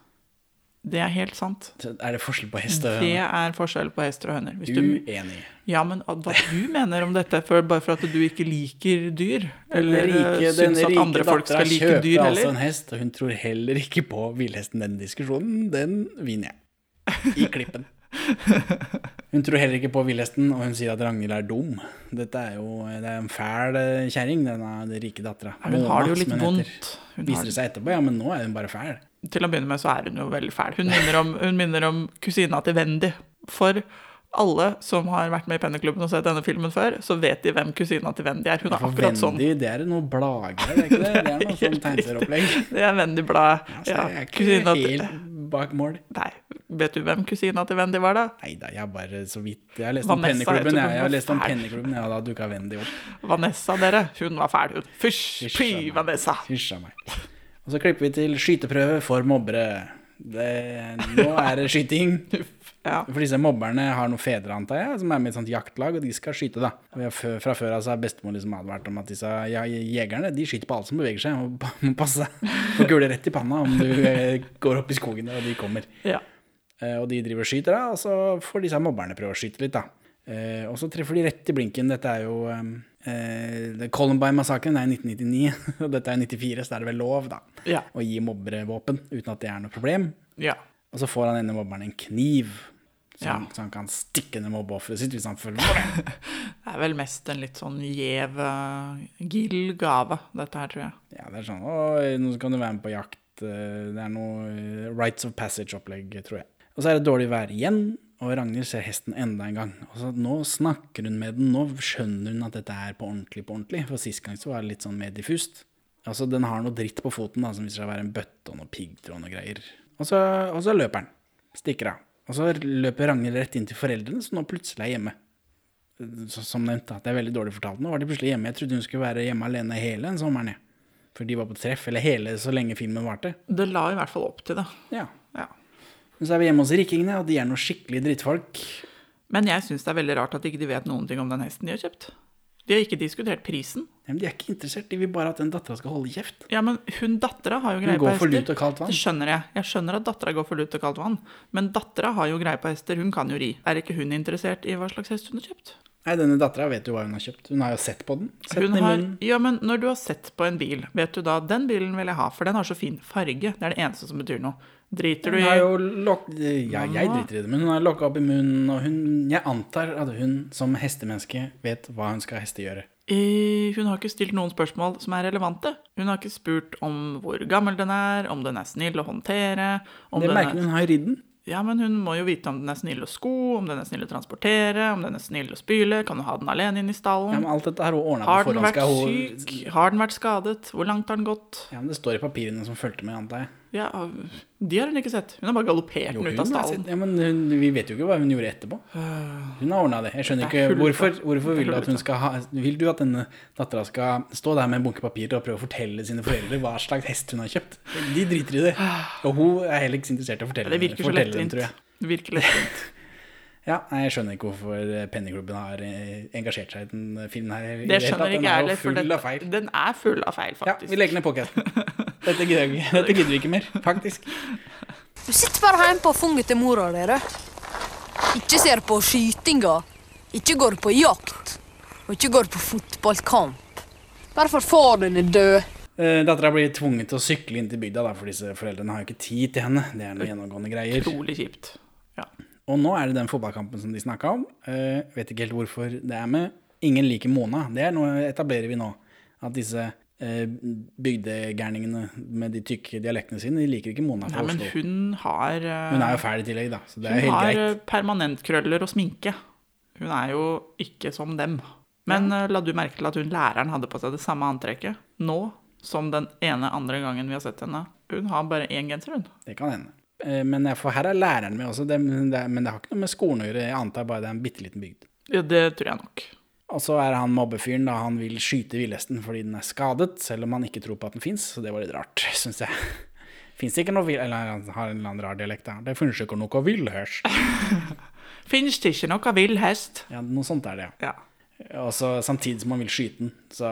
S2: Det er helt sant.
S1: Så Er det forskjell på hest og
S2: Det
S1: høne?
S2: er forskjell på hester og høner. Hvis du
S1: Uenig.
S2: Ja, men at- hva du mener om dette, for, bare for at du ikke liker dyr? Eller eh,
S1: Rike, den
S2: syns at
S1: rike
S2: andre folk
S1: dattera
S2: skal like
S1: kjøper
S2: dyr
S1: altså
S2: heller?
S1: en hest, og hun tror heller ikke på villhesten. Den diskusjonen, den vinner jeg. I klippen. Hun tror heller ikke på villhesten, og hun sier at Ragnhild er dum. Dette er jo det er en fæl eh, kjerring, denne den rike dattera.
S2: Nei, hun har det
S1: Mona,
S2: jo litt
S1: som hun heter.
S2: vondt. Hun har,
S1: Viser det seg etterpå, ja, men nå er hun bare fæl.
S2: til å begynne med så er hun jo veldig fæl. Hun minner om, hun minner om kusina til Wendy. For alle som har vært med i Penneklubben og sett denne filmen før, så vet de hvem kusina til Wendy er. Hun er
S1: For
S2: akkurat sånn.
S1: Wendy, det er noe blager, det er ikke det? Det er noe sånn tegneserieopplegg.
S2: Det er Wendy-bladet.
S1: Altså,
S2: Ja,
S1: jeg er
S2: kusina
S1: ikke
S2: til
S1: helt bak mål.
S2: Nei, vet du hvem kusina til Wendy var, da?
S1: Nei da, jeg bare så vidt Jeg har lest om
S2: Vanessa, jeg
S1: Penneklubben,
S2: tror
S1: jeg.
S2: hun
S1: jeg har
S2: var
S1: lest om
S2: fæl.
S1: penneklubben, ja, da dukka Wendy opp.
S2: Vanessa, dere. Hun var fæl, hun. Fysj,
S1: Hysj
S2: py,
S1: av meg.
S2: Vanessa.
S1: Hysj av meg. Og så klipper vi til skyteprøve for mobbere. Det, nå er det skyting.
S2: Ja.
S1: For disse mobberne har noen fedre, antar jeg, som er med i et sånt jaktlag, og de skal skyte, da. Og vi har fø- fra før av så har bestemor liksom advart om at disse ja- jegerne de skyter på alle som beveger seg, og pa- må passe deg. Får kule rett i panna om du eh, går opp i skogen der og de kommer.
S2: ja.
S1: Eh, Og de driver og skyter, da, og så får disse mobberne prøve å skyte litt, da. Eh, Og så treffer de rett i blinken. Dette er jo eh, eh, Columbine-massakren er i 1999, og dette er 94, så da er det vel lov, da,
S2: Ja.
S1: å gi mobbere våpen uten at det er noe problem.
S2: Ja.
S1: Og så får han ene mobberen en kniv, så,
S2: Ja.
S1: han, så han kan stikke ned mobbeofferet sitt hvis han føler for det.
S2: Det er vel mest en litt sånn gjev, eh, gild gave, dette her, tror jeg.
S1: Ja, det er sånn Å, nå kan du være med på jakt. eh, Det er noe eh, rites of passage-opplegg, tror jeg. Og så er det dårlig vær igjen, og Ragnhild ser hesten enda en gang. Og så nå snakker hun med den, nå skjønner hun at dette er på ordentlig, på ordentlig. For sist gang så var det litt sånn mer diffust. Altså, den har noe dritt på foten da, som viser seg å være en bøtte og noe piggtråd og noe greier. Og så, og så løper han. Stikker av. Og så løper Ragnhild rett inn til foreldrene, som nå plutselig er hjemme så, som nevnt, da, det er veldig dårlig fortalt. Nå var de plutselig hjemme. Jeg trodde hun skulle være hjemme alene hele den sommeren. jeg. For de var på treff, eller hele så lenge filmen varte.
S2: Det la i hvert fall opp til det.
S1: Ja.
S2: Ja.
S1: Men så er vi hjemme hos rikingene, og de er noen skikkelig drittfolk.
S2: Men jeg syns det er veldig rart at ikke de vet noen ting om den hesten de har kjøpt. De har ikke diskutert prisen.
S1: Nei, men de er ikke interessert, de vil bare at den dattera skal holde kjeft.
S2: Ja, men hun dattera har jo greie på
S1: går
S2: hester.
S1: for lut og kaldt vann.
S2: Det skjønner jeg. Jeg skjønner at dattera går for lut og kaldt vann. Men dattera har jo greie på hester, hun kan jo ri. Er ikke hun interessert i hva slags hest hun har kjøpt?
S1: Nei, denne dattera vet jo hva hun har kjøpt. Hun har jo sett på den. Sett
S2: Hun
S1: den i
S2: har,
S1: munnen.
S2: ja, men når du har sett på en bil, vet du da den bilen vil jeg ha, for den har så fin farge. Det er det eneste som betyr noe. Driter du
S1: Hun har
S2: i
S1: jo lok... Ja, jeg driter i det, men hun har lokka opp i munnen, og hun Jeg antar at hun som hestemenneske vet hva hun skal hestegjøre.
S2: Eh, Hun har ikke stilt noen spørsmål som er relevante. Hun har ikke spurt om hvor gammel den er, om den er snill å håndtere om
S1: Det
S2: den
S1: merker
S2: er,
S1: hun, hun har jo ridd den.
S2: Ja, men hun må jo vite om den er snill å sko, om den er snill å transportere, om den er snill å spyle, kan du ha den alene inn i
S1: Ja,
S2: stallen?
S1: men alt dette har hun ordna på
S2: Har den
S1: forhånd.
S2: vært
S1: Skal hun
S2: syk? Har den vært skadet? Hvor langt har den gått?
S1: Ja, men Det står i papirene som fulgte med, antar jeg.
S2: Ja, de har hun ikke sett. Hun har bare galoppert den
S1: hun
S2: ut av
S1: har
S2: stallen.
S1: sett- ja, men hun, vi vet jo ikke hva hun gjorde etterpå. Hun har ordna det. Jeg skjønner
S2: Øh. Det er
S1: ikke
S2: hull,
S1: hvorfor,
S2: da.
S1: hvorfor
S2: Det er
S1: vil du at
S2: hull,
S1: hun skal ha Vil du at denne dattera skal stå der med en bunke papirer og prøve å fortelle sine foreldre hva slags hest hun har kjøpt? De driter i det. Og hun er heller ikke så interessert i å
S2: Øh. Ja,
S1: fortelle,
S2: Det virker så
S1: fortelle dem,
S2: lettvint.
S1: tror jeg.
S2: Det virker lettvint.
S1: Ja, nei, Jeg skjønner ikke hvorfor eh, Pennyklubben har eh, engasjert seg i den filmen her. i hele tatt.
S2: Det skjønner ikke
S1: Den
S2: jeg
S1: er jo
S2: heller, for
S1: full
S2: den,
S1: av feil.
S2: den er full av feil,
S1: Ja,
S2: faktisk.
S1: vi legger ned podcasten. Dette gidder vi ikke- dette gidder vi ikke mer, faktisk.
S7: Du sitter bare hjemme på fanget til mora di, du. Ikke ser på skytinga. Ikke går på jakt. Og ikke går på fotballkamp. Bare for far din er død.
S1: Eh, Dattera blir tvunget til å sykle inn til bygda, da, for disse foreldrene har jo ikke tid til henne. Det er noen gjennomgående greier.
S2: Utrolig kjipt. Ja.
S1: Og nå er det den fotballkampen som de snakka om. Eh, vet ikke helt hvorfor det er med. Ingen liker Mona. Det er noe etablerer vi nå. At disse eh, bygdegærningene med de tykke dialektene sine, de liker ikke Mona fra
S2: Nei, men
S1: Oslo.
S2: hun har eh,
S1: Hun er jo fæl i tillegg, da, så det er
S2: Hun
S1: jo helt
S2: har
S1: greit.
S2: eh, permanentkrøller og sminke. Hun er jo ikke som dem. Men eh, la du merke til at hun læreren hadde på seg det samme antrekket nå som den ene andre gangen vi har sett henne? Hun har bare én genser, hun.
S1: Det kan hende. Eh, Men jeg- for her er læreren med også, det, men det er- men det har ikke noe med skolen å gjøre. Jeg antar bare det er en bitte liten bygd.
S2: Ja, det tror jeg nok.
S1: Og så er han mobbefyren, da han vil skyte villhesten fordi den er skadet, selv om han ikke tror på at den fins, så det var litt rart, syns jeg. Fins det ikke noe vill... Eller han har en eller annen rar dialekt, da. Det finnes ikke noe villhest.
S2: Finnes det ikke noe vill hest?
S1: Ja, noe sånt er det, ja.
S2: Ja.
S1: Og så samtidig som han vil skyte den, så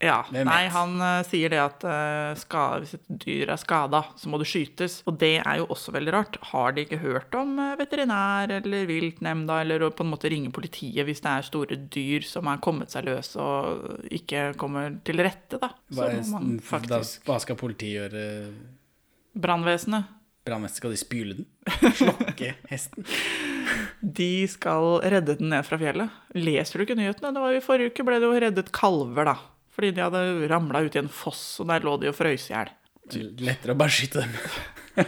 S2: ja.
S1: Hvem
S2: Nei,
S1: vet?
S2: han eh, sier det at eh, ska- hvis et dyr er skada, så må det skytes. Og det er jo også veldig rart. Har de ikke hørt om eh, veterinær eller viltnemnda, eller å på en måte ringe politiet hvis det er store dyr som er kommet seg løs og ikke kommer til rette, da? Så
S1: hva,
S2: må man
S1: da,
S2: faktisk
S1: hva skal politiet gjøre?
S2: Brannvesenet.
S1: Brannvesenet, skal de spyle den? Slokke hesten?
S2: De skal redde den ned fra fjellet. Leser du ikke nyhetene? Det var jo I forrige uke ble det jo reddet kalver, da. Fordi de hadde ramla uti en foss, og der lå de og frøys i hjel.
S1: Lettere å bare skyte dem.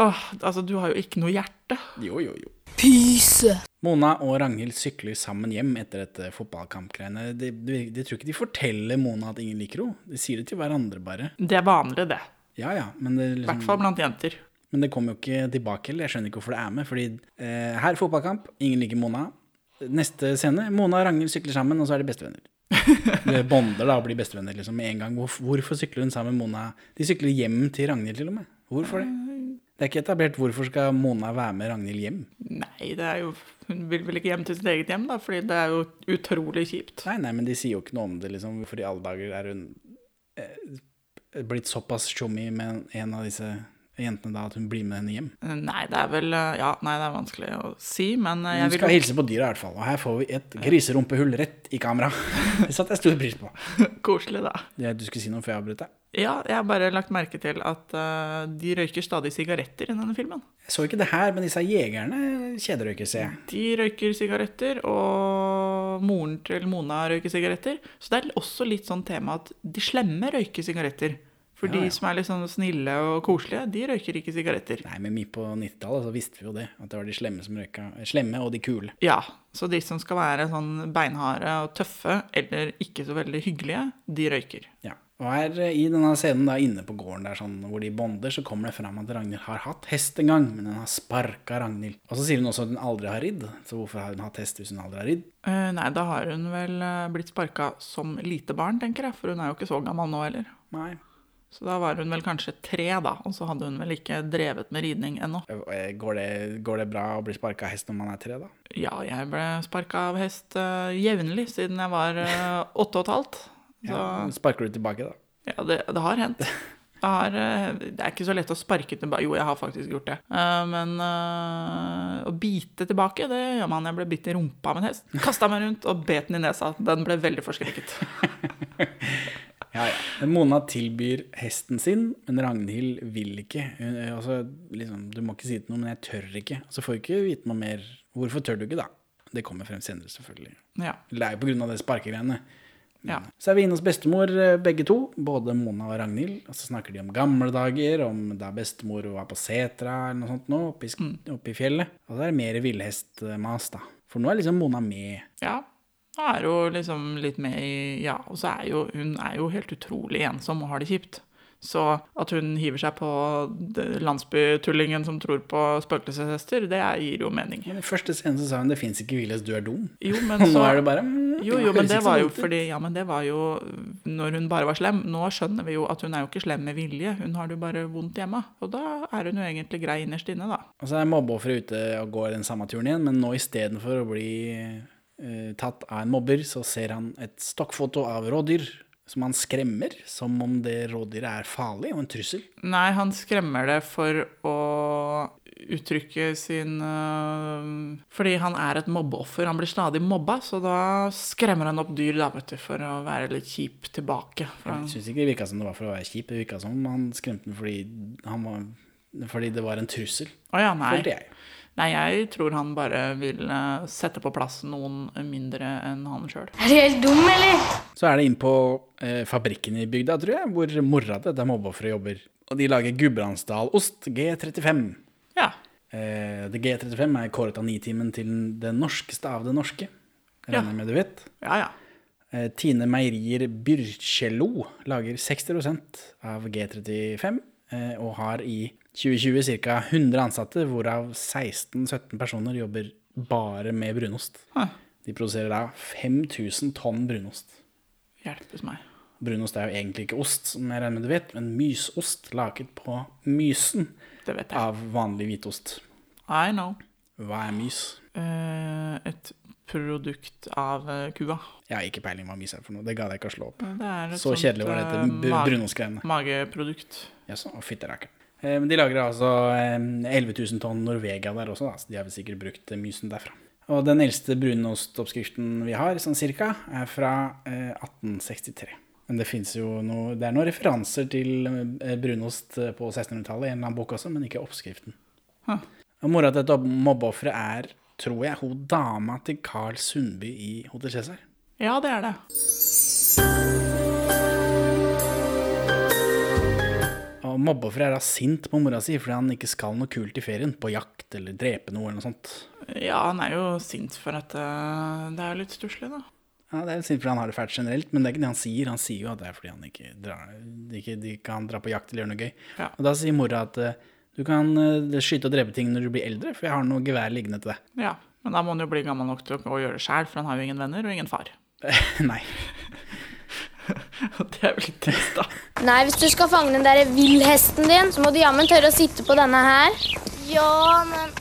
S2: Åh, altså, du har jo ikke noe hjerte.
S1: Jo, jo, jo.
S7: Pyse.
S1: Mona og Ragnhild sykler sammen hjem etter dette fotballkampgreiene. De, de, de tror ikke de forteller Mona at ingen liker henne. De sier det til hverandre bare.
S2: Det er vanlig, det.
S1: Ja, ja, men det,
S2: I hvert
S1: liksom,
S2: fall blant jenter.
S1: men det kommer jo ikke tilbake heller. Jeg skjønner ikke hvorfor det er med. Fordi eh, her fotballkamp, ingen liker Mona. Neste scene, Mona og Ragnhild sykler sammen, og så er de bestevenner. De bonder da og blir bestevenner liksom med en gang. Hvorfor, hvorfor sykler hun sammen med Mona? De sykler hjem til Ragnhild til og med. Hvorfor det? Det er ikke etablert hvorfor skal Mona være med Ragnhild hjem.
S2: Nei, det er jo Hun vil vel ikke hjem til sitt eget hjem, da, fordi det er jo utrolig kjipt.
S1: Nei, nei, men de sier jo ikke noe om det, liksom. Hvorfor i alle dager er hun eh, blitt såpass tjommi med en av disse jentene da, at hun blir med henne hjem?
S2: Nei, det er vel eh, Ja, nei, det er vanskelig å si, men eh,
S1: Hun
S2: jeg vil
S1: skal hilse på dyra i hvert fall, og her får vi et griserumpehull rett i kamera. Det satte jeg stor pris på.
S2: Koselig, da.
S1: Det- Du skulle si noe før jeg avbrøt deg.
S2: Ja, jeg har bare lagt merke til at eh, de røyker stadig sigaretter i denne filmen.
S1: Jeg så ikke det her, men disse jegerne kjederøyker, ser jeg.
S2: De røyker sigaretter, og moren til Mona røyker sigaretter. Så det er også litt sånn tema at de slemme røyker sigaretter. For
S1: Ja, ja.
S2: de som er litt sånn snille og koselige, de røyker ikke sigaretter.
S1: Nei, men vi på 90-tallet så visste vi jo det, at det var de slemme som røyka. Slemme og de kule.
S2: Ja, så de som skal være sånn beinharde og tøffe, eller ikke så veldig hyggelige, de røyker.
S1: Ja. Og her eh, i denne scenen da, inne på gården der, sånn, hvor de bonder, så kommer det fram at Ragnhild har hatt hest en gang, men hun har sparka Ragnhild. Og så sier hun også at hun aldri har ridd, så hvorfor har hun hatt hest hvis hun aldri har ridd?
S2: Eh, nei, da har hun vel eh, blitt sparka som lite barn, tenker jeg, for hun er jo ikke så gammel nå heller.
S1: Nei.
S2: Så da var hun vel kanskje tre, da. Og så hadde hun vel ikke drevet med ridning ennå.
S1: Eh, Går det, går det bra å bli sparka hest når man er tre, da?
S2: Ja, jeg ble sparka av hest eh, jevnlig siden jeg var eh, åtte og et halvt. Så ja,
S1: Sparker du tilbake, da?
S2: det, det har hendt. Det, har, eh, det er ikke så lett å sparke tilbake. Jo, jeg har faktisk gjort det. Eh, men eh, å bite tilbake, det gjør man. Jeg ble bitt i rumpa av en hest. Kasta meg rundt og bet den i nesa. Den ble veldig forskrekket.
S1: Ja, ja. Mona tilbyr hesten sin, men Ragnhild vil ikke. Hun, eh, altså, liksom, du må ikke si det til noen, men jeg tør ikke. Så får vi ikke vite noe mer. Hvorfor tør du ikke, da? Det kommer frem senere, selvfølgelig.
S2: Ja.
S1: Det er jo på grunn av det sparkegreiene.
S2: ja.
S1: Så er vi inne hos bestemor, eh, begge to. Både Mona og Ragnhild. Og så snakker de om gamle dager, om da bestemor var på setra eller noe sånt nå, oppe i, sk-
S2: Mm.
S1: oppe i fjellet. Og så er det mer villhestmas, da. For nå er liksom Mona med.
S2: Ja. Da er jo liksom litt med i Ja, og så er jo hun er jo helt utrolig ensom og har det kjipt. Så at hun hiver seg på det- landsbytullingen som tror på spøkelseshester, det er- gir jo mening.
S1: Men I første scene så sa hun 'det fins ikke villhest, du er dum'.
S2: Jo, men
S1: Og nå
S2: så-
S1: er det bare mm,
S2: Jo, jo, men
S1: høres
S2: det
S1: ikke så
S2: var jo
S1: dumt ut.
S2: fordi Ja, men det var jo når hun bare var slem. Nå skjønner vi jo at hun er jo ikke slem med vilje, hun har det jo bare vondt hjemme. Og da er hun jo egentlig grei innerst inne, da.
S1: Og så er mobbeofferet ute og går den samme turen igjen, men nå istedenfor å bli eh, tatt av en mobber, så ser han et stokkfoto av rådyr som han skremmer, som om det rådyret er farlig og en trussel.
S2: Nei, han skremmer det for å uttrykke sin øh, Fordi han er et mobbeoffer. Han blir stadig mobba, så da skremmer han opp dyr da, vet du, for å være litt kjip tilbake. For han,
S1: Jeg syns ikke det virka som det var for å være kjip, det virka som han skremte den fordi, han var, fordi det var en trussel.
S2: å ja, nei.
S1: Følte jeg.
S2: nei, jeg tror han bare vil øh, sette på plass noen mindre enn han sjøl.
S8: Er du helt dum, eller?
S1: Så er det inn på eh, fabrikken i bygda, tror jeg, hvor mora til dette mobbeofferet jobber. Og de lager Gudbrandsdalost G35.
S2: Ja.
S1: Eh, det G35 er kåret av Nitimen til det norskeste av det norske. Jeg
S2: Ja.
S1: regner med du vet.
S2: ja, ja.
S1: Eh, Tine Meierier Byrkjelo lager 60 av G35, eh, og har i 2020 ca. 100 ansatte, hvorav 16-17 personer jobber bare med brunost.
S2: Huh.
S1: De produserer da 5000 tonn brunost.
S2: Hjelpes meg.
S1: Brunost er jo egentlig ikke ost, som jeg regner med du vet, men mysost laget på mysen
S2: Det vet jeg.
S1: av vanlig hvitost.
S2: I know.
S1: Hva er mys?
S2: Eh, et produkt av eh, kua.
S1: Jeg har ikke peiling hva mys er for noe. Det ga jeg ikke å slå opp.
S2: Mm, Det er et
S1: Så
S2: sånt,
S1: kjedelig var dette
S2: eh,
S1: br-
S2: mag-
S1: brunostgreiene.
S2: Mageprodukt.
S1: Jaså, og fytterakker'n. Eh, men de lagrer altså eh, 11 000 tonn Norvegia der også, da, så de har vel sikkert brukt eh, mysen derfra. Og den eldste brunostoppskriften vi har, sånn cirka, er fra eh, 1863. Men det finnes jo noe, det er noen referanser til eh, brunost eh, på 1600-tallet i en eller annen bok også, men ikke oppskriften. Og Mora til dette mobbeofferet er, tror jeg, hun dama til Carl Sundby i Hotell Cæsar.
S2: Ja, det er det.
S1: Og mobbeofferet er da sint på mora si fordi han ikke skal noe kult i ferien, på jakt eller drepe noe eller noe sånt.
S2: Ja, han er jo sint for at eh, det er jo litt stusslig, da.
S1: Ja, Det er jo synd, for han har det fælt generelt, men det er ikke det han sier. Han sier jo at det er fordi han ikke, drar, ikke de kan dra på jakt eller gjøre noe gøy.
S2: Ja.
S1: Og da sier mora at eh, du kan eh, skyte og drepe ting når du blir eldre, for jeg har noe gevær liggende til deg.
S2: Ja, Men da må han jo bli gammel nok til å å gjøre det sjæl, for han har jo ingen venner og ingen far.
S1: Nei.
S2: Og det er vel litt trist, da.
S8: Nei, hvis du skal fange den derre villhesten din, så må du jammen tørre å sitte på denne her. Ja, men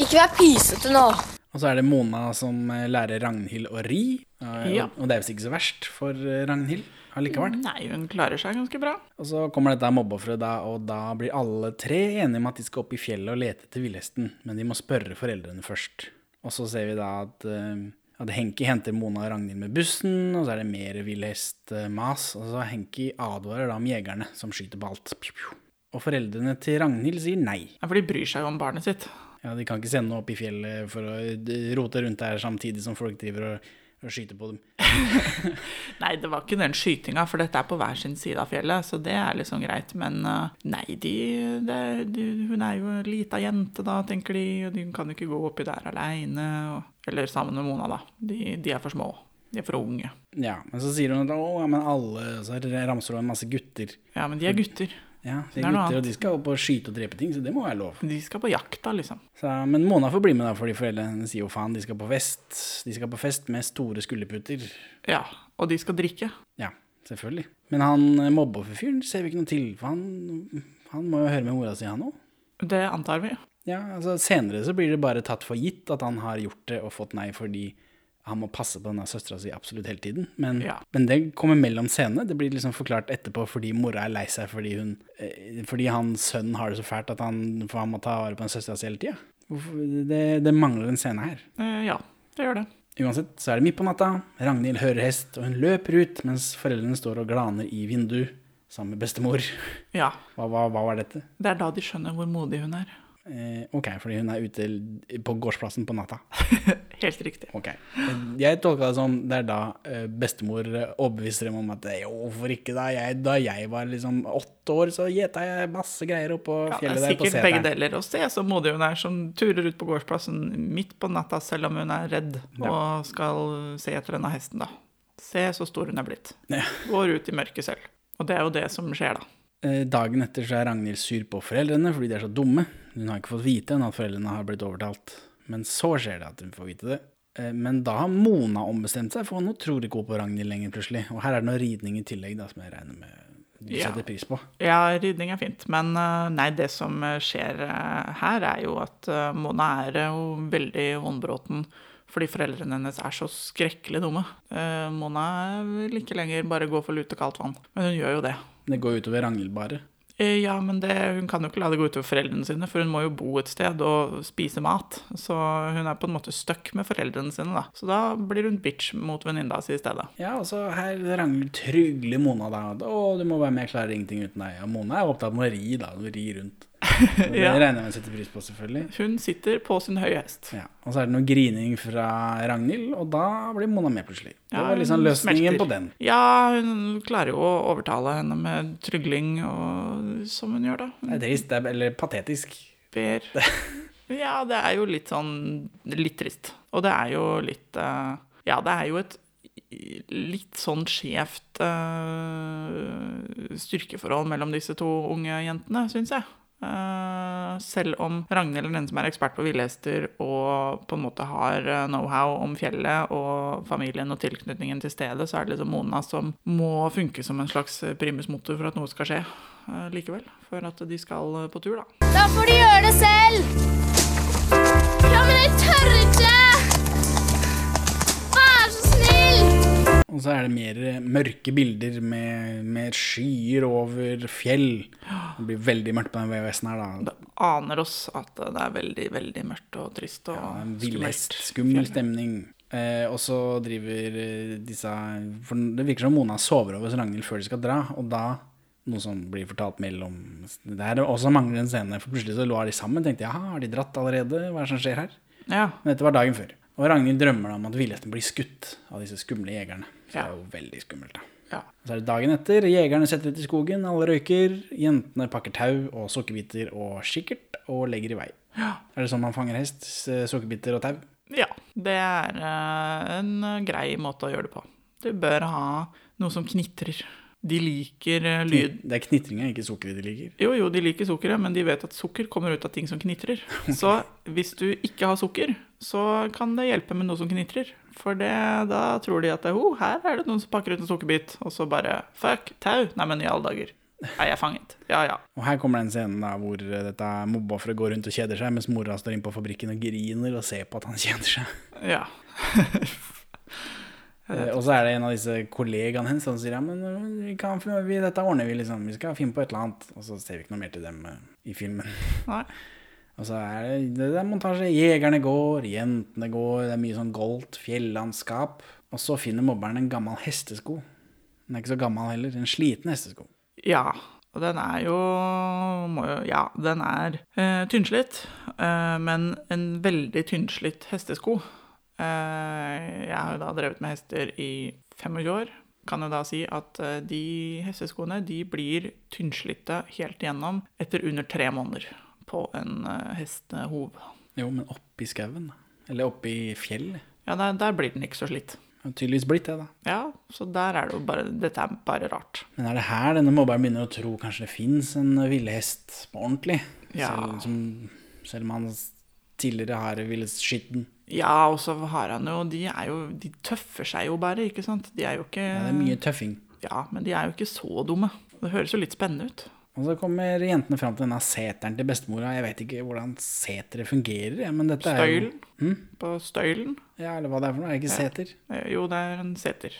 S8: Ikke vær pysete nå.
S1: Og så er det Mona som eh, lærer Ragnhild å ri, og,
S2: Ja.
S1: og det er visst ikke så verst for eh, Ragnhild allikevel.
S2: Nei, hun klarer seg ganske bra.
S1: Og så kommer dette mobbeofferet, da, og da blir alle tre enige om at de skal opp i fjellet og lete etter villhesten, men de må spørre foreldrene først. Og så ser vi da at, eh, at Henki henter Mona og Ragnhild med bussen, og så er det mer villhestmas, og så Henki advarer da om jegerne som skyter på alt. Pju, pju. Og foreldrene til Ragnhild sier nei.
S2: Ja, For de bryr seg jo om barnet sitt.
S1: Ja, De kan ikke sende noe opp i fjellet for å eh, rote rundt der samtidig som folk driver og, og skyter på dem.
S2: Nei, det var ikke den skytinga, for dette er på hver sin side av fjellet, så det er liksom greit. Men eh, nei, de, det, de Hun er jo en lita jente, da, tenker de, og de kan jo ikke gå oppi der aleine. Eller sammen med Mona, da. De, de er for små. De er for unge.
S1: Ja, Men så sier hun at å, ja, men alle og Så ramser hun en masse gutter.
S2: Ja, men de er gutter.
S1: Ja, de
S2: Det er noe
S1: gutter, og
S2: annet.
S1: de skal opp og skyte og drepe ting, så det må være lov.
S2: De skal på jakt, da, liksom.
S1: Så, men Mona får bli med, da, fordi foreldrene hennes sier jo faen, de skal på fest. De skal på fest med store skulderputer.
S2: Ja, Og de skal drikke.
S1: Ja. Selvfølgelig. Men han eh, mobbeofferfyren ser vi ikke noe til, for han, han må jo høre med mora si, han òg.
S2: Det antar vi.
S1: Ja, altså senere så blir det bare tatt for gitt at han har gjort det og fått nei fordi han må passe på denne søstera si absolutt hele tiden. Men,
S2: Ja.
S1: men det kommer mellom scenene. Det blir liksom forklart etterpå fordi mora er lei seg fordi hun eh, Fordi hans sønn har det så fælt at han, for han må ta vare på den søstera si hele tida. Det, det mangler en scene her.
S2: Eh, ja, det gjør det.
S1: Uansett så er det midt på natta. Ragnhild hører hest, og hun løper ut mens foreldrene står og glaner i vindu sammen med bestemor.
S2: Ja.
S1: Hva, hva, hva var dette?
S2: Det er da de skjønner hvor modig hun er.
S1: Eh, ok, fordi hun er ute på gårdsplassen på natta.
S2: Helt riktig.
S1: Ok. Jeg tolka det som det er da eh, bestemor eh, overbeviser dem om at eh, jo, hvorfor ikke da? Jeg, da jeg var liksom åtte år, så gjeta jeg masse greier oppå
S2: Ja, det
S1: fjellet
S2: er
S1: der på
S2: sikkert begge
S1: seteren.
S2: deler. Og se så modig hun er som sånn turer ut på gårdsplassen midt på natta selv om hun er redd og skal se etter denne hesten, da. Se så stor hun er blitt.
S1: Ja.
S2: Går ut i mørket selv. Og det er jo det som skjer, da.
S1: Eh, Dagen etter så er Ragnhild sur på foreldrene fordi de er så dumme. Hun har ikke fått vite ennå at foreldrene har blitt overtalt. Men så skjer det at hun får vite det. Eh, Men da har Mona ombestemt seg, for nå tror ikke hun på Ragnhild lenger plutselig. Og her er det noe ridning i tillegg, da, som jeg regner med du
S2: Ja.
S1: setter pris på.
S2: Ja, rydning er fint, men eh, nei, det som skjer eh, her, er jo at eh, Mona er jo veldig vonbråten fordi foreldrene hennes er så skrekkelig dumme. Eh, Mona vil ikke lenger bare gå for lute kaldt vann, men hun gjør jo det.
S1: Det går utover Ragnhild bare.
S2: Eh, Ja, men det, hun kan jo ikke la det gå utover foreldrene sine, for hun må jo bo et sted og spise mat. Så hun er på en måte stuck med foreldrene sine, da. Så da blir hun bitch mot venninna si i stedet.
S1: Ja, og så her rangler trygler Mona da. at, Å, du må være med, jeg klarer ingenting uten deg. Og Mona er opptatt med å ri, da. Hun rir rundt. Og Det
S2: Ja.
S1: regner jeg med å sette pris på, selvfølgelig.
S2: Hun sitter på sin høye hest.
S1: Ja. Og så er det noe grining fra Ragnhild, og da blir Mona med plutselig. Det
S2: Ja,
S1: var liksom
S2: hun
S1: løsningen
S2: smelter.
S1: på den.
S2: Ja, hun klarer jo å overtale henne med trygling og som hun gjør, da.
S1: Det
S2: Hun
S1: er trist, det er, eller patetisk.
S2: ber. Ja, det er jo litt sånn Litt trist. Og det er jo litt eh, Ja, det er jo et litt sånn skjevt eh, styrkeforhold mellom disse to unge jentene, syns jeg. Eh, selv om Ragnhild er den som er ekspert på villhester og på en måte har eh, know-how om fjellet og familien og tilknytningen til stedet, så er det liksom Mona som må funke som en slags primus motor for at noe skal skje eh, likevel. For at de skal eh, på tur, da.
S8: Da får du gjøre det selv. Ja, men jeg tør ikke. Vær så snill.
S1: Og så er det mer eh, mørke bilder med, med skyer over fjell. Det blir veldig mørkt på den VHS-en her, da.
S2: Det aner oss at det er veldig, veldig mørkt og trist og
S1: Ja, en villhest, skummel
S2: skummelt.
S1: stemning. Eh, og så driver eh, disse For det virker som Mona sover over hos Ragnhild før de skal dra, og da noe som blir fortalt mellom Det er også mangler en scene, for plutselig så lå de sammen. Tenkte jeg, «Jaha, har de dratt allerede? Hva er det som skjer her?
S2: Ja,
S1: Men dette var dagen før. Og Ragnhild drømmer da om at villhesten blir skutt av disse skumle jegerne. Så det
S2: Ja.
S1: er jo veldig skummelt, da.
S2: ja.
S1: Så er det dagen etter. Jegerne setter ut i skogen, alle røyker. Jentene pakker tau og sukkerbiter og kikkert og legger i vei. Er det sånn man fanger hest? S- Sukkerbiter og tau?
S2: Ja, det er eh, en grei måte å gjøre det på. Du bør ha noe som knitrer. De liker eh, lyd.
S1: Det er knitringa, ikke sukkeret de liker.
S2: Jo, jo, de liker sukkeret, men de vet at sukker kommer ut av ting som knitrer. Så hvis du ikke har sukker, så kan det hjelpe med noe som knitrer. For det, da tror de at det, oh, her er det noen som pakker ut en sukkerbit, og så bare fuck, tau. Nei, men i alle dager. Er jeg fanget? Ja, ja.
S1: Og her kommer den scenen da hvor eh, dette mobbeofferet går rundt og kjeder seg, mens mora står inne på fabrikken og griner og ser på at han kjeder seg.
S2: Ja.
S1: Eh, Og så er det en av disse kollegaene hennes som sier ja, men eh, vi kan, vi, dette ordner vi, liksom. Vi skal finne på et eller annet. Og så ser vi ikke noe mer til dem eh, i filmen.
S2: Nei.
S1: Og så er det, det er montasje. Jegerne går, jentene går, det er mye sånn goldt fjellandskap. Og så finner mobberen en gammel hestesko. Den er ikke så gammel heller. En sliten hestesko.
S2: Ja. Og den er jo, må jo Ja, den er eh, tynnslitt, eh, men en veldig tynnslitt hestesko. Eh, jeg har jo da drevet med hester i 25 år. Kan jo da si at eh, de hesteskoene de blir tynnslitte helt igjennom etter under tre måneder på en eh, hestehov.
S1: Jo, men oppi skauen. Eller oppi fjellet.
S2: Ja, der, der blir den ikke så slitt.
S1: Det har tydeligvis blitt det, da.
S2: Ja, så der er det jo bare Dette er bare rart.
S1: Men er det her denne mobberen begynner å tro kanskje det fins en villhest på ordentlig?
S2: Ja.
S1: Selv, som, selv om han tidligere har villet skyte den.
S2: Ja, og så har han jo De, er jo, de tøffer seg jo bare, ikke sant? De er jo ikke
S1: Ja, det er mye tøffing.
S2: Ja, men de er jo ikke så dumme. Det høres jo litt spennende ut.
S1: Og så kommer jentene fram til denne seteren til bestemora. Jeg vet ikke hvordan setere fungerer, jeg, men dette er jo Hm?
S2: Støylen. På støylen.
S1: Ja, eller hva det er for noe. Er det ikke seter?
S2: Eh, Jo, det er en seter.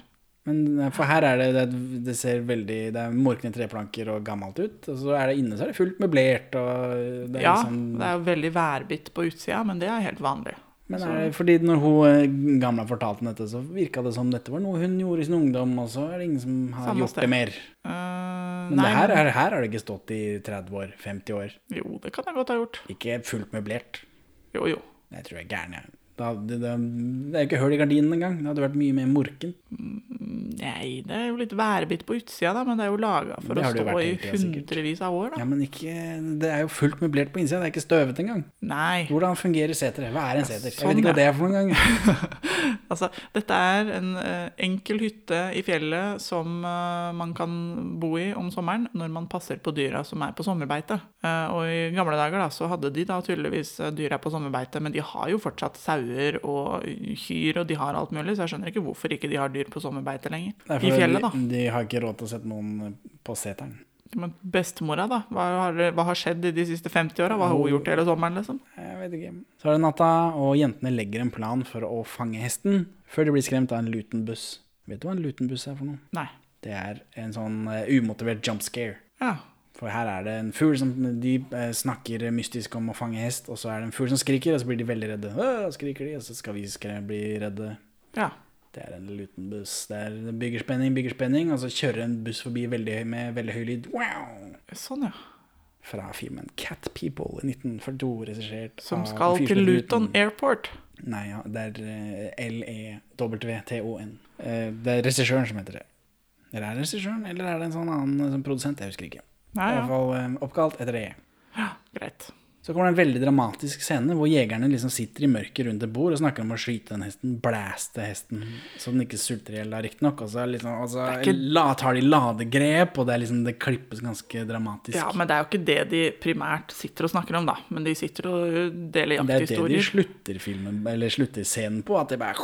S1: Men eh, for her er det, det, det ser veldig Det er morkne treplanker og gammelt ut. Og så er det inne så er det fullt møblert og det er
S2: Ja,
S1: liksom-
S2: det er jo veldig værbitt på utsida, men det er helt vanlig.
S1: Men er det fordi når hun eh, gamla fortalte om dette, så virka det som dette var noe hun gjorde i sin ungdom, og så er det ingen som har
S2: Samme
S1: gjort
S2: sted.
S1: det mer.
S2: Eh,
S1: Men
S2: nei,
S1: det her, er, her har det ikke stått i 30 år, 50 år.
S2: Jo, det kan jeg godt ha gjort.
S1: Ikke fullt møblert.
S2: Jo, jo.
S1: Jeg tror jeg er gæren, jeg. Da, det, det, det er jo ikke hull i gardinen engang. Det hadde vært mye mer morken.
S2: Nei, det er jo litt værbitt på utsida, da, men det er jo laga for
S1: Det
S2: å
S1: har det jo
S2: stå
S1: vært
S2: i
S1: hele tida, sikkert.
S2: hundrevis av år, da.
S1: Ja, men ikke, det er jo fullt møblert på innsida. Det er ikke støvete engang.
S2: Nei.
S1: Hvordan fungerer seteret? Hva er en seter? Jeg
S2: sånn,
S1: vet ikke
S2: ja.
S1: hva det er for noen gang.
S2: Altså, dette er en eh, enkel hytte i fjellet som eh, man kan bo i om sommeren når man passer på dyra som er på sommerbeite. Eh, og i gamle dager da, så hadde de da tydeligvis eh, dyra på sommerbeite, men de har jo fortsatt sauer og kyr og de har alt mulig, så jeg skjønner ikke hvorfor ikke de har dyr på sommerbeite lenger.
S1: Det er
S2: I
S1: fordi
S2: fjellet, da.
S1: De, de har ikke råd til å sette noen på seteren.
S2: Men bestemora, da. Hva har, hva har skjedd i de siste 50 åra? Hva har hun gjort hele sommeren, liksom?
S1: Jeg vet ikke. Eh, Så er det natta, og jentene legger en plan for å fange hesten før de blir skremt av en lutenbuss. Vet du hva en lutenbuss er for noe?
S2: Nei.
S1: Det er en sånn eh, umotivert jump scare.
S2: Ja.
S1: For her er det en fugl som De eh, snakker mystisk om å fange hest, og så er det en fugl som skriker, og så blir de veldig redde. «Åh!» skriker de, og så skal vi skre- bli redde.
S2: ja.
S1: Det er en lutenbuss. Det er det bygger spenning, bygger spenning, og så kjører en buss forbi veldig høy, med veldig høy lyd. Wow!
S2: Sånn, ja.
S1: Fra filmen Cat People i 1942, regissert
S2: Som
S1: av
S2: skal
S1: en fyr
S2: til
S1: som heter
S2: Luton Airport.
S1: Nei, ja, det er eh, L-E-W-T-O-N. Eh, Det er regissøren som heter det. Eller er det regissøren, eller er det en sånn annen eh, sånn produsent? Jeg husker ikke.
S2: Nei,
S1: I
S2: ja.
S1: hvert fall eh, oppkalt etter det.
S2: Greit.
S1: Så kommer det en veldig dramatisk scene hvor jegerne liksom sitter i mørket rundt et bord og snakker om å skyte den hesten, blæste hesten, så den ikke sulter i hjel, da, riktignok. Og så, er liksom, og så
S2: Det er ikke-
S1: la, tar de ladegrep, og det, er liksom, det klippes ganske dramatisk.
S2: Ja, men det er jo ikke det de primært sitter og snakker om, da. Men de sitter og deler
S1: det er jo det de
S2: jakthistorier.
S1: slutter filmen, eller slutter scenen på, at det bare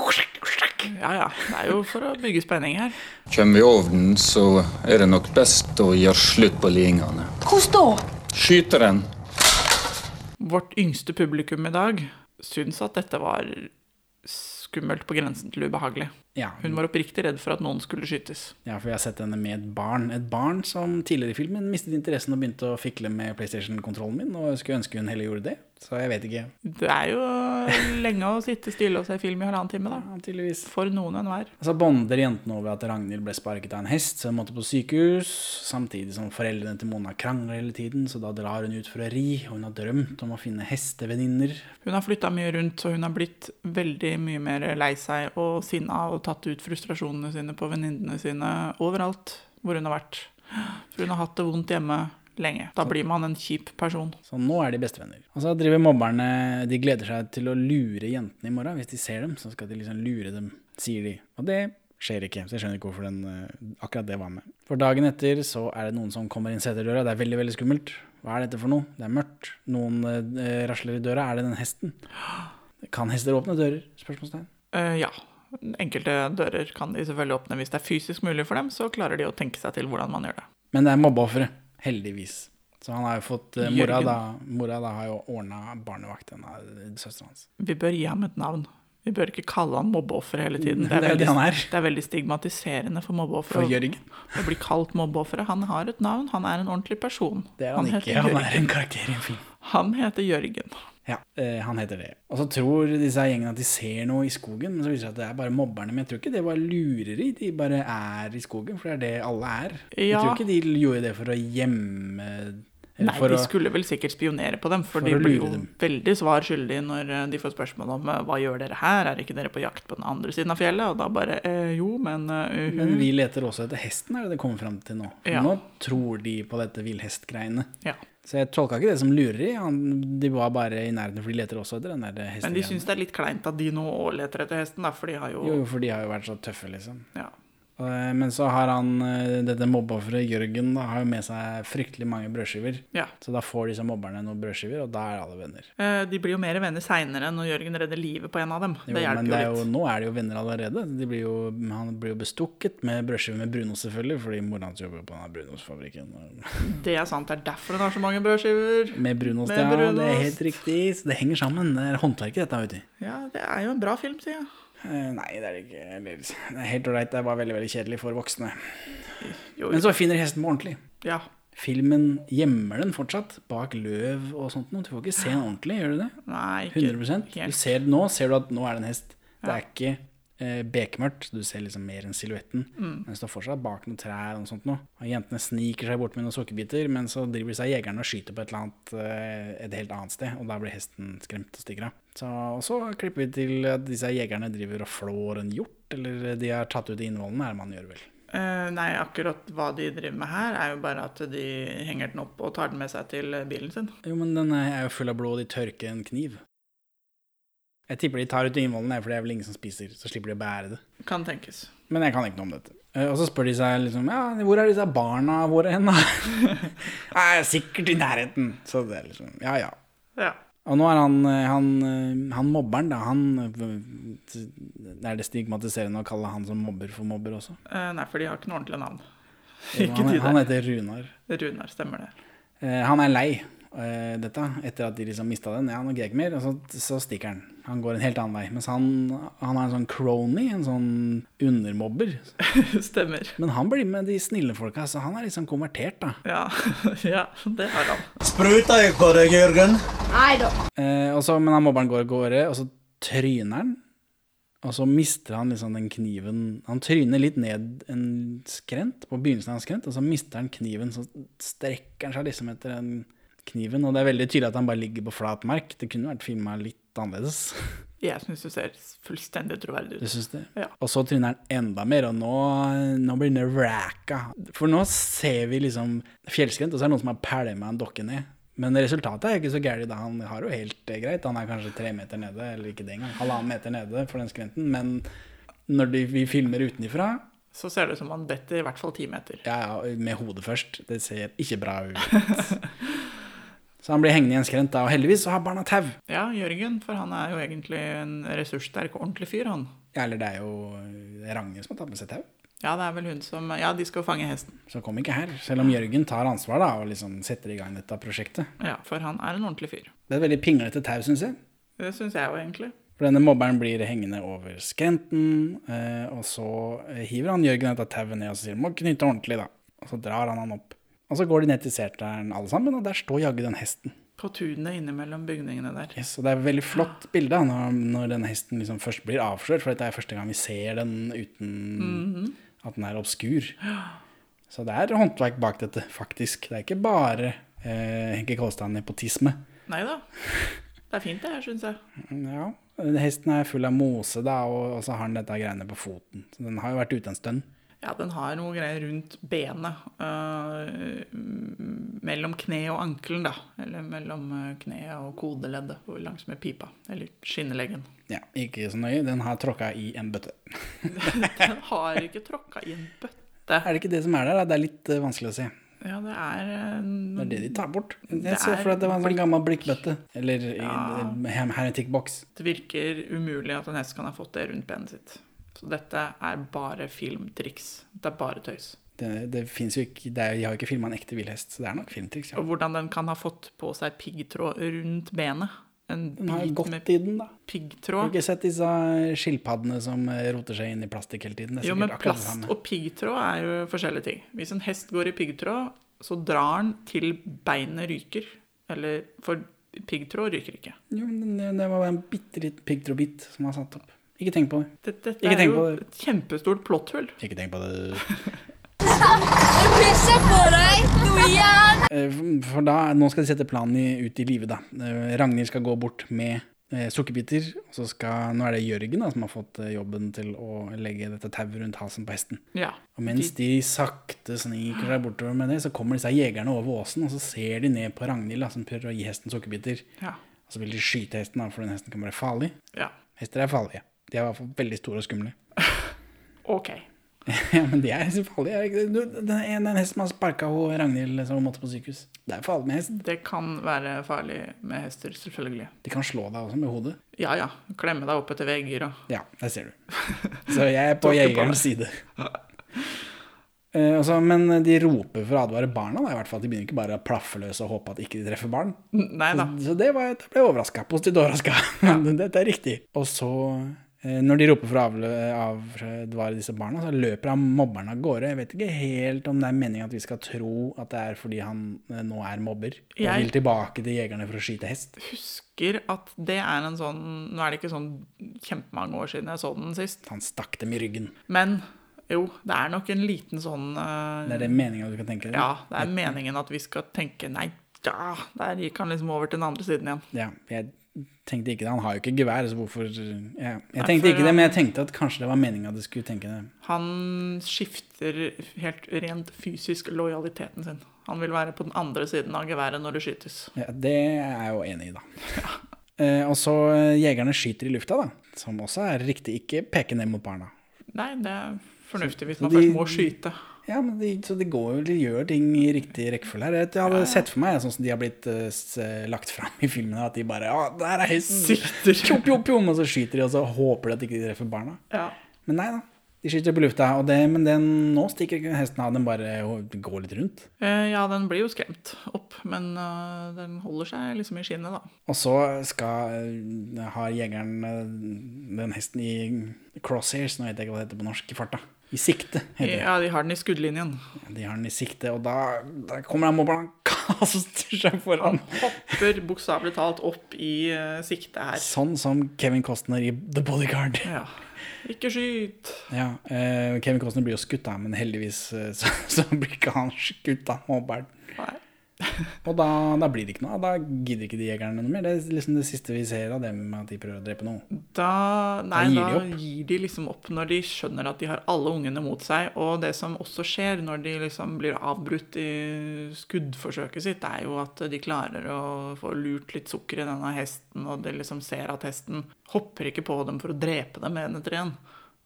S2: Ja, ja. Det er jo for å bygge spenning her.
S9: Kommer vi over den, så er det nok best å gjøre slutt på lidingene.
S7: Hvordan da?
S9: Skyte den.
S2: Vårt yngste publikum i dag syns at dette var skummelt på grensen til ubehagelig.
S1: Ja,
S2: Hun var oppriktig redd for at noen skulle skytes.
S1: Ja, for jeg har sett henne med et barn. Et barn som tidligere i filmen mistet interessen og begynte å fikle med PlayStation-kontrollen min, og jeg skulle ønske hun heller gjorde det. Så jeg vet ikke.
S2: Det er jo lenge å sitte stille og se film i halvannen time, da.
S1: Ja, tydeligvis.
S2: For noen enhver.
S1: Så bonder jentene over at Ragnhild ble sparket av en hest, så hun måtte på sykehus, samtidig som foreldrene til Mona krangler hele tiden, så da drar hun ut for å ri, og hun har drømt om å finne hestevenninner.
S2: Hun har flytta mye rundt, så hun har blitt veldig mye mer lei seg og sinna og tatt ut frustrasjonene sine på venninnene sine overalt hvor hun har vært. For hun har hatt det vondt hjemme lenge. Da blir man en kjip person.
S1: Så nå er de bestevenner. Og så driver mobberne De gleder seg til å lure jentene i morgen. Hvis de ser dem, så skal de liksom lure dem, sier de. Og det skjer ikke. Så jeg skjønner ikke hvorfor den, eh, akkurat det var med. For dagen etter så er det noen som kommer inn seterdøra. Det er veldig, veldig skummelt. Hva er dette for noe? Det er mørkt. Noen eh, rasler i døra. Er det den hesten? Kan hester åpne dører? Spørsmålstegn.
S2: Eh, ja. Enkelte dører kan de selvfølgelig åpne hvis det er fysisk mulig for dem, så klarer de å tenke seg til hvordan man gjør det.
S1: Men det er mobbeofferet. Heldigvis. Så han har jo fått eh, Mora,
S2: Jørgen.
S1: da, mora da har jo ordna barnevakt, denne søstera hans.
S2: Vi bør gi ham et navn. Vi bør ikke kalle han mobbeoffer hele tiden.
S1: Det er jo det han er.
S2: det er veldig stigmatiserende for mobbeoffer
S1: For
S2: å-
S1: Jørgen.
S2: å bli kalt mobbeofferet. Han har et navn, han er en ordentlig person.
S1: Det er han,
S2: heter
S1: ikke. Han
S2: Jørgen.
S1: er en karakter i en film.
S2: Han heter Jørgen.
S1: Ja, eh, han heter det. Og så tror disse her gjengene at de ser noe i skogen, men så viser det seg at det er bare mobberne. Men jeg tror ikke det var lureri, de bare er i skogen, for det er det alle er. Jeg
S2: Ja.
S1: tror ikke de gjorde det for å gjemme eller
S2: Nei,
S1: for
S2: de
S1: å-
S2: skulle vel sikkert spionere på dem, for,
S1: For
S2: de
S1: å
S2: blir
S1: lure
S2: jo
S1: dem.
S2: veldig svar skyldige når eh, de får spørsmål om eh, hva gjør dere her, er ikke dere på jakt på den andre siden av fjellet? Og da bare eh, jo, men eh, uhu.
S1: Men vi leter også etter hesten, er det det kommer fram til nå. For
S2: Ja.
S1: Nå tror de på dette villhestgreiene.
S2: Ja.
S1: Så jeg tolka ikke det som lureri. Han- De var bare i nærheten, for de leter også etter den der
S2: Men de
S1: hestegreien.
S2: syns det er litt kleint at de nå leter etter hesten, da, for de har jo,
S1: Jo, jo, for de har jo vært så tøffe, liksom.
S2: Ja.
S1: Eh, Men så har han eh, dette mobbeofferet Jørgen da, har jo med seg fryktelig mange brødskiver.
S2: Ja.
S1: Så da får disse mobberne noen brødskiver, og da er alle venner.
S2: Eh, De blir jo mer venner seinere når Jørgen redder livet på en av dem.
S1: Jo,
S2: det hjelper
S1: men det er
S2: jo
S1: jo,
S2: litt.
S1: nå er de jo venner allerede. De blir jo, han blir jo bestukket med brødskiver med brunost, selvfølgelig, fordi mora hans jobber jo på denne brunostfabrikken.
S2: Det er sant. Det er derfor han har så mange brødskiver.
S1: Med brunost,
S2: Med
S1: ja. Det er
S2: brunost.
S1: helt riktig. Så det henger sammen. Det er håndverket, dette, vet du.
S2: Ja, det er jo en bra film, sier jeg.
S1: Eh, Nei, det er det ikke. Eller, Det er helt ålreit. Det er bare veldig, veldig kjedelig for voksne.
S2: Jo,
S1: Men så finner hesten på ordentlig.
S2: ja.
S1: Filmen gjemmer den fortsatt bak løv og sånt noe. Du får ikke se den ordentlig, gjør du det?
S2: Nei, ikke
S1: 100
S2: helt.
S1: Du ser det nå, ser du at nå er det en hest. Det er ikke eh, bekmørkt, du ser liksom mer enn silhuetten.
S2: Mm.
S1: Men den står fortsatt bak noen trær og noe sånt noe. Og jentene sniker seg bort med noen sukkerbiter, men så driver de seg jegerne og skyter på et eller annet eh, et helt annet sted, og da blir hesten skremt og stikker av. Så, og så klipper vi til at disse jegerne driver og flår en hjort, eller de har tatt ut innvollene, er det man gjør vel.
S2: Eh, nei, akkurat hva de driver med her, er jo bare at de henger den opp og tar den med seg til eh, bilen sin.
S1: Jo, men den er jo full av blod, og de tørker en kniv. Jeg tipper de tar ut innvollene, for det er vel ingen som spiser, så slipper de å bære det.
S2: Kan tenkes.
S1: Men jeg kan ikke noe om dette. Eh, Og så spør de seg liksom Ja, hvor er disse barna våre hen, da? Nei, sikkert i nærheten. Så det er liksom Ja, ja.
S2: Ja.
S1: Og nå er han, eh, han, eh, han mobberen, da. Han eh, Er det stigmatiserende å kalle han som mobber for mobber også?
S2: Eh, nei, for de har ikke noe ordentlig navn.
S1: Jo,
S2: ikke
S1: Han,
S2: de
S1: han
S2: der.
S1: heter Runar.
S2: Runar, stemmer det.
S1: Eh, Han er lei eh, dette, etter at de liksom mista den. Ja, nå gidder jeg ikke mer. Og så, så stikker han. Han går en helt annen vei. Mens han, han er en sånn crony, en sånn undermobber.
S2: stemmer.
S1: Men han blir med de snille folka, så han er liksom konvertert, da.
S2: Ja. ja, det har han.
S5: Spruta jeg på deg, Jørgen?
S8: Nei da.
S1: Eh, og så, men han mobberen går av gårde, og så tryner han. Og så mister han liksom den kniven Han tryner litt ned en skrent, på begynnelsen av en skrent, og så mister han kniven. Så strekker han seg liksom etter den kniven, og det er veldig tydelig at han bare ligger på flat mark. Det kunne vært filma litt annerledes.
S2: Jeg syns du ser fullstendig troverdig
S1: Du
S2: ut.
S1: syns det?
S2: Ja.
S1: Og så tryner han enda mer, og nå, nå blir han racka. For nå ser vi liksom fjellskrent, og så er det noen som har pælma en dokke ned. Men resultatet er jo ikke så gærent. da. Han har jo helt eh, greit. Han er kanskje tre meter nede, eller ikke det engang. Halvannen meter nede for den skrenten. Men når de, vi filmer utenfra,
S2: Så ser det ut som han better i hvert fall ti meter.
S1: ja, ja, med hodet først, det ser ikke bra ut. Så han blir hengende i en skrent da, og heldigvis så har barna tau.
S2: Ja, Jørgen, for han er jo egentlig en ressurssterk og ordentlig fyr, han.
S1: Ja, eller det er jo eh, Range som har tatt med seg tau.
S2: Ja, det er vel hun som Ja, de skal jo fange hesten.
S1: Så kom ikke her. Selv om Jørgen tar ansvar da, og liksom setter i gang dette prosjektet.
S2: Ja, for han er en ordentlig fyr.
S1: Det er veldig pinglete tau, syns jeg.
S2: Det syns jeg jo, egentlig.
S1: For denne mobberen blir hengende over skrenten, eh, og så eh, hiver han Jørgen dette tauet ned og så sier må knytte ordentlig, da. Og så drar han han opp. Og så går de ned til seteren alle sammen, og der står jaggu den hesten.
S2: På tunet innimellom bygningene der.
S1: Yes, og det er et veldig flott bilde da, når, når den hesten liksom først blir avslørt, for dette er første gang vi ser den uten
S2: Mhm.
S1: at den er obskur. Så det er håndverk bak dette, faktisk. Det er ikke bare eh, Henke Kolstad-nepotisme.
S2: Nei da. Det er fint, det her, syns jeg.
S1: Ja, hesten er full av mose, da, og, og så har den dette greiene på foten. Så den har jo vært ute en stund.
S2: Ja, den har noe greier rundt benet. øh, mm, mellom kneet og ankelen, da. Eller mellom øh, kneet og kodeleddet og langs med pipa. Eller skinneleggen.
S1: Ja, ikke så nøye. Den har tråkka i en bøtte.
S2: Den har ikke tråkka i en bøtte.
S1: Er det ikke det som er der? Da? Det er litt eh, vanskelig å se.
S2: Ja, det er øh,
S1: Det er det de tar bort. Jeg
S2: Det
S1: så
S2: er
S1: for at det var en sånn gammel blikkbøtte. Eller eh, ja. hermetikkboks.
S2: Det virker umulig at en hest kan ha fått det rundt benet sitt. Så dette er bare filmtriks. Det er bare tøys.
S1: Det, det finnes jo ikke, det er, De har jo ikke filma en ekte villhest, så det er nok filmtriks. Ja.
S2: Og hvordan den kan ha fått på seg piggtråd rundt benet. En
S1: Den har jo
S2: bit
S1: gått
S2: med
S1: i den, da. Har du
S2: piggtråd.
S1: ikke sett disse skilpaddene som eh, roter seg inn i plastikk hele tiden? Det er
S2: Jo,
S1: sikkert
S2: men
S1: akkurat det
S2: plast
S1: samme.
S2: og piggtråd er jo forskjellige ting. Hvis en hest går i piggtråd, så drar den til beinet ryker. Eller For piggtråd ryker ikke.
S1: Jo, men det, det var bare en bitte liten piggtrådbit som var satt opp. Ikke tenk på det.
S2: Dette, dette
S1: Ikke
S2: er
S1: tenk
S2: jo
S1: på det.
S2: et kjempestort plotthull.
S1: Ikke tenk på det.
S7: Jeg pisser på deg! Du igjen!
S1: Eh, For da, nå skal de sette planen i, ut i livet, da. Eh, Ragnhild skal gå bort med eh, sukkerbiter. Og så skal, nå er det Jørgen da, som har fått eh, jobben til å legge dette tauet rundt halsen på hesten.
S2: Ja.
S1: Og mens de sakte sniker seg bortover med det, så kommer disse jegerne over åsen, og så ser de ned på Ragnhild, da, som prøver å gi hesten sukkerbiter.
S2: Ja.
S1: Og så vil de skyte hesten, da, for den hesten kan være farlig.
S2: ja.
S1: Hester er farlige. De er i hvert fall veldig store og skumle.
S2: OK.
S1: Ja, men de er så farlige. er det ikke det? Du, Den ene den hesten har sparka henne, Ragnhild, som måtte på sykehus. Det er farlig med hest.
S2: Det kan være farlig med hester, selvfølgelig.
S1: De kan slå deg også med hodet.
S2: Ja ja, klemme deg opp etter vegger og
S1: Ja, der ser du. Så jeg er på
S2: Tråkker på
S1: jegerens side. Eh, altså, men de roper for å advare barna, da, i hvert fall. De begynner ikke bare å plaffe løs og håpe at ikke de treffer barn.
S2: Nei da.
S1: Så det var, jeg ble overraska. Positivt overraska. Dette er riktig. Og så, eh, når de roper for å avlø- avvare disse barna, så løper han mobberen av gårde. Jeg vet ikke helt om det er meningen at vi skal tro at det er fordi han eh, nå er mobber. Og
S2: Jeg-
S1: vil tilbake til jegerne for å skyte hest.
S2: Husker at det er en sånn Nå er det ikke sånn kjempemange år siden jeg så den sist,
S1: Han stakk dem i ryggen.
S2: men jo, det er nok en liten sånn eh,
S1: Det er det meninga du kan tenke deg?
S2: Ja, det er meningen at vi skal tenke Nei, ja, der gikk han liksom over til den andre siden igjen.
S1: Ja, jeg tenkte ikke det. Han har jo ikke gevær, så hvorfor ja. Jeg
S2: for
S1: tenkte ikke det,
S2: han-
S1: men jeg tenkte at kanskje det var meninga du skulle tenke det.
S2: Han skifter helt rent fysisk lojaliteten sin. Han vil være på den andre siden av geværet når det skytes.
S1: Ja, det er jeg jo enig i, da. Eh, og så eh, jegerne skyter i lufta, da. Som også er riktig. Ikke peke ned mot barna.
S2: Nei, det er fornuftig hvis
S1: Så
S2: man
S1: de-
S2: først må skyte.
S1: Ja, men de, Så det går jo, de gjør ting i riktig rekkefølge her. Jeg hadde sett for meg, sånn som de har blitt eh, s- lagt fram i filmene, at de bare Å, der er hesten!
S2: Sikter.
S1: Pjom, pjom, pjom, og så skyter de, og så håper de at ikke de treffer barna.
S2: Ja.
S1: Men nei da. De skyter på lufta, og det, men den, nå stikker ikke hesten av. Den bare går litt rundt.
S2: Eh, ja, den blir jo skremt opp, men eh, den holder seg liksom i skinnet, da.
S1: Og så skal, eh, har jegeren eh, den hesten i crosshairs, nå vet jeg ikke hva det heter på norsk, i farta. I sikte, heter det.
S2: Ja, de har den i skuddlinjen.
S1: De har den i sikte, og da, da kommer han mobberen og kaster seg foran.
S2: Hopper bokstavelig talt opp i eh, sikte her.
S1: Sånn som Kevin Costner i The Bodyguard.
S2: Ja. Ikke skyt!
S1: Ja, eh, Kevin Costner blir jo skutt, da, men heldigvis eh, så, så blir ikke han skutt av mobberen.
S2: Nei.
S1: Og da, da blir det ikke noe av. Da gidder ikke de jegerne noe mer. Det er liksom det siste vi ser av dem, at de prøver å drepe noen.
S2: Da, nei,
S1: gir
S2: da,
S1: de
S2: gir,
S1: opp.
S2: de liksom opp når de skjønner at de har alle ungene mot seg. Og det som også skjer når de liksom blir avbrutt i skuddforsøket sitt, det er jo at de klarer å få lurt litt sukker i denne hesten, og de liksom ser at hesten hopper ikke på dem for å drepe dem en etter en.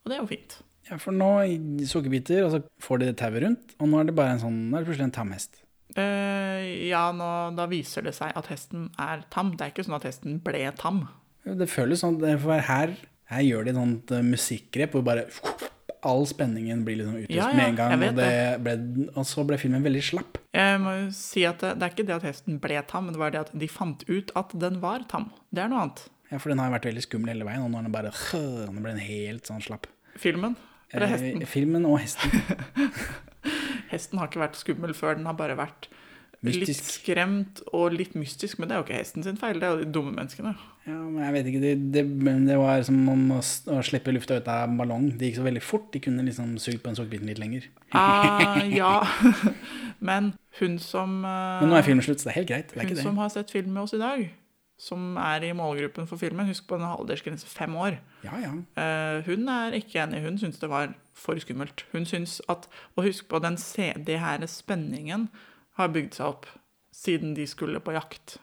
S2: Og det er jo fint.
S1: Ja, for nå i sukkerbiter, og så får de det tauet rundt, og nå er det bare en sånn, nå er det plutselig en tamhest.
S2: Eh, ja, nå, da viser det seg at hesten er tam. Det er ikke sånn at hesten ble tam.
S1: Det føles sånn, det- for her, her gjør de et sånt eh, musikkgrep, hvor bare all spenningen blir liksom utløst
S2: Ja, ja,
S1: med en gang,
S2: jeg vet
S1: og, det ble, og så ble filmen veldig slapp.
S2: Jeg må jo si at det, det er ikke det at hesten ble tam, men det var det at de fant ut at den var tam. Det er noe annet.
S1: Ja, for den har vært veldig skummel hele veien, og nå er den bare, den ble en helt sånn slapp.
S2: Filmen? Eller hesten?
S1: Eh, filmen og hesten.
S2: Hesten har ikke vært skummel før, den har bare vært litt
S1: Mystisk.
S2: skremt og litt mystisk. Men det er jo ikke hesten sin feil, det er jo de dumme menneskene.
S1: Ja, men jeg vet ikke, det, det, men det var som om å, s- å slippe lufta ut av en ballong. Det gikk så veldig fort, de kunne liksom sugt på en sukkerbiten litt lenger.
S2: Ah, ja. Men hun som, eh,
S1: Men nå er filmen slutt, så det er helt greit. Det er
S2: hun
S1: ikke det.
S2: som har sett film med oss i dag, som er i målgruppen for filmen, husk på en aldersgrense fem år.
S1: Ja, ja.
S2: Eh, hun er ikke enig. Hun syns det var for skummelt. Hun syns at Og husk på den se- det her spenningen har bygd seg opp siden de skulle på jakt.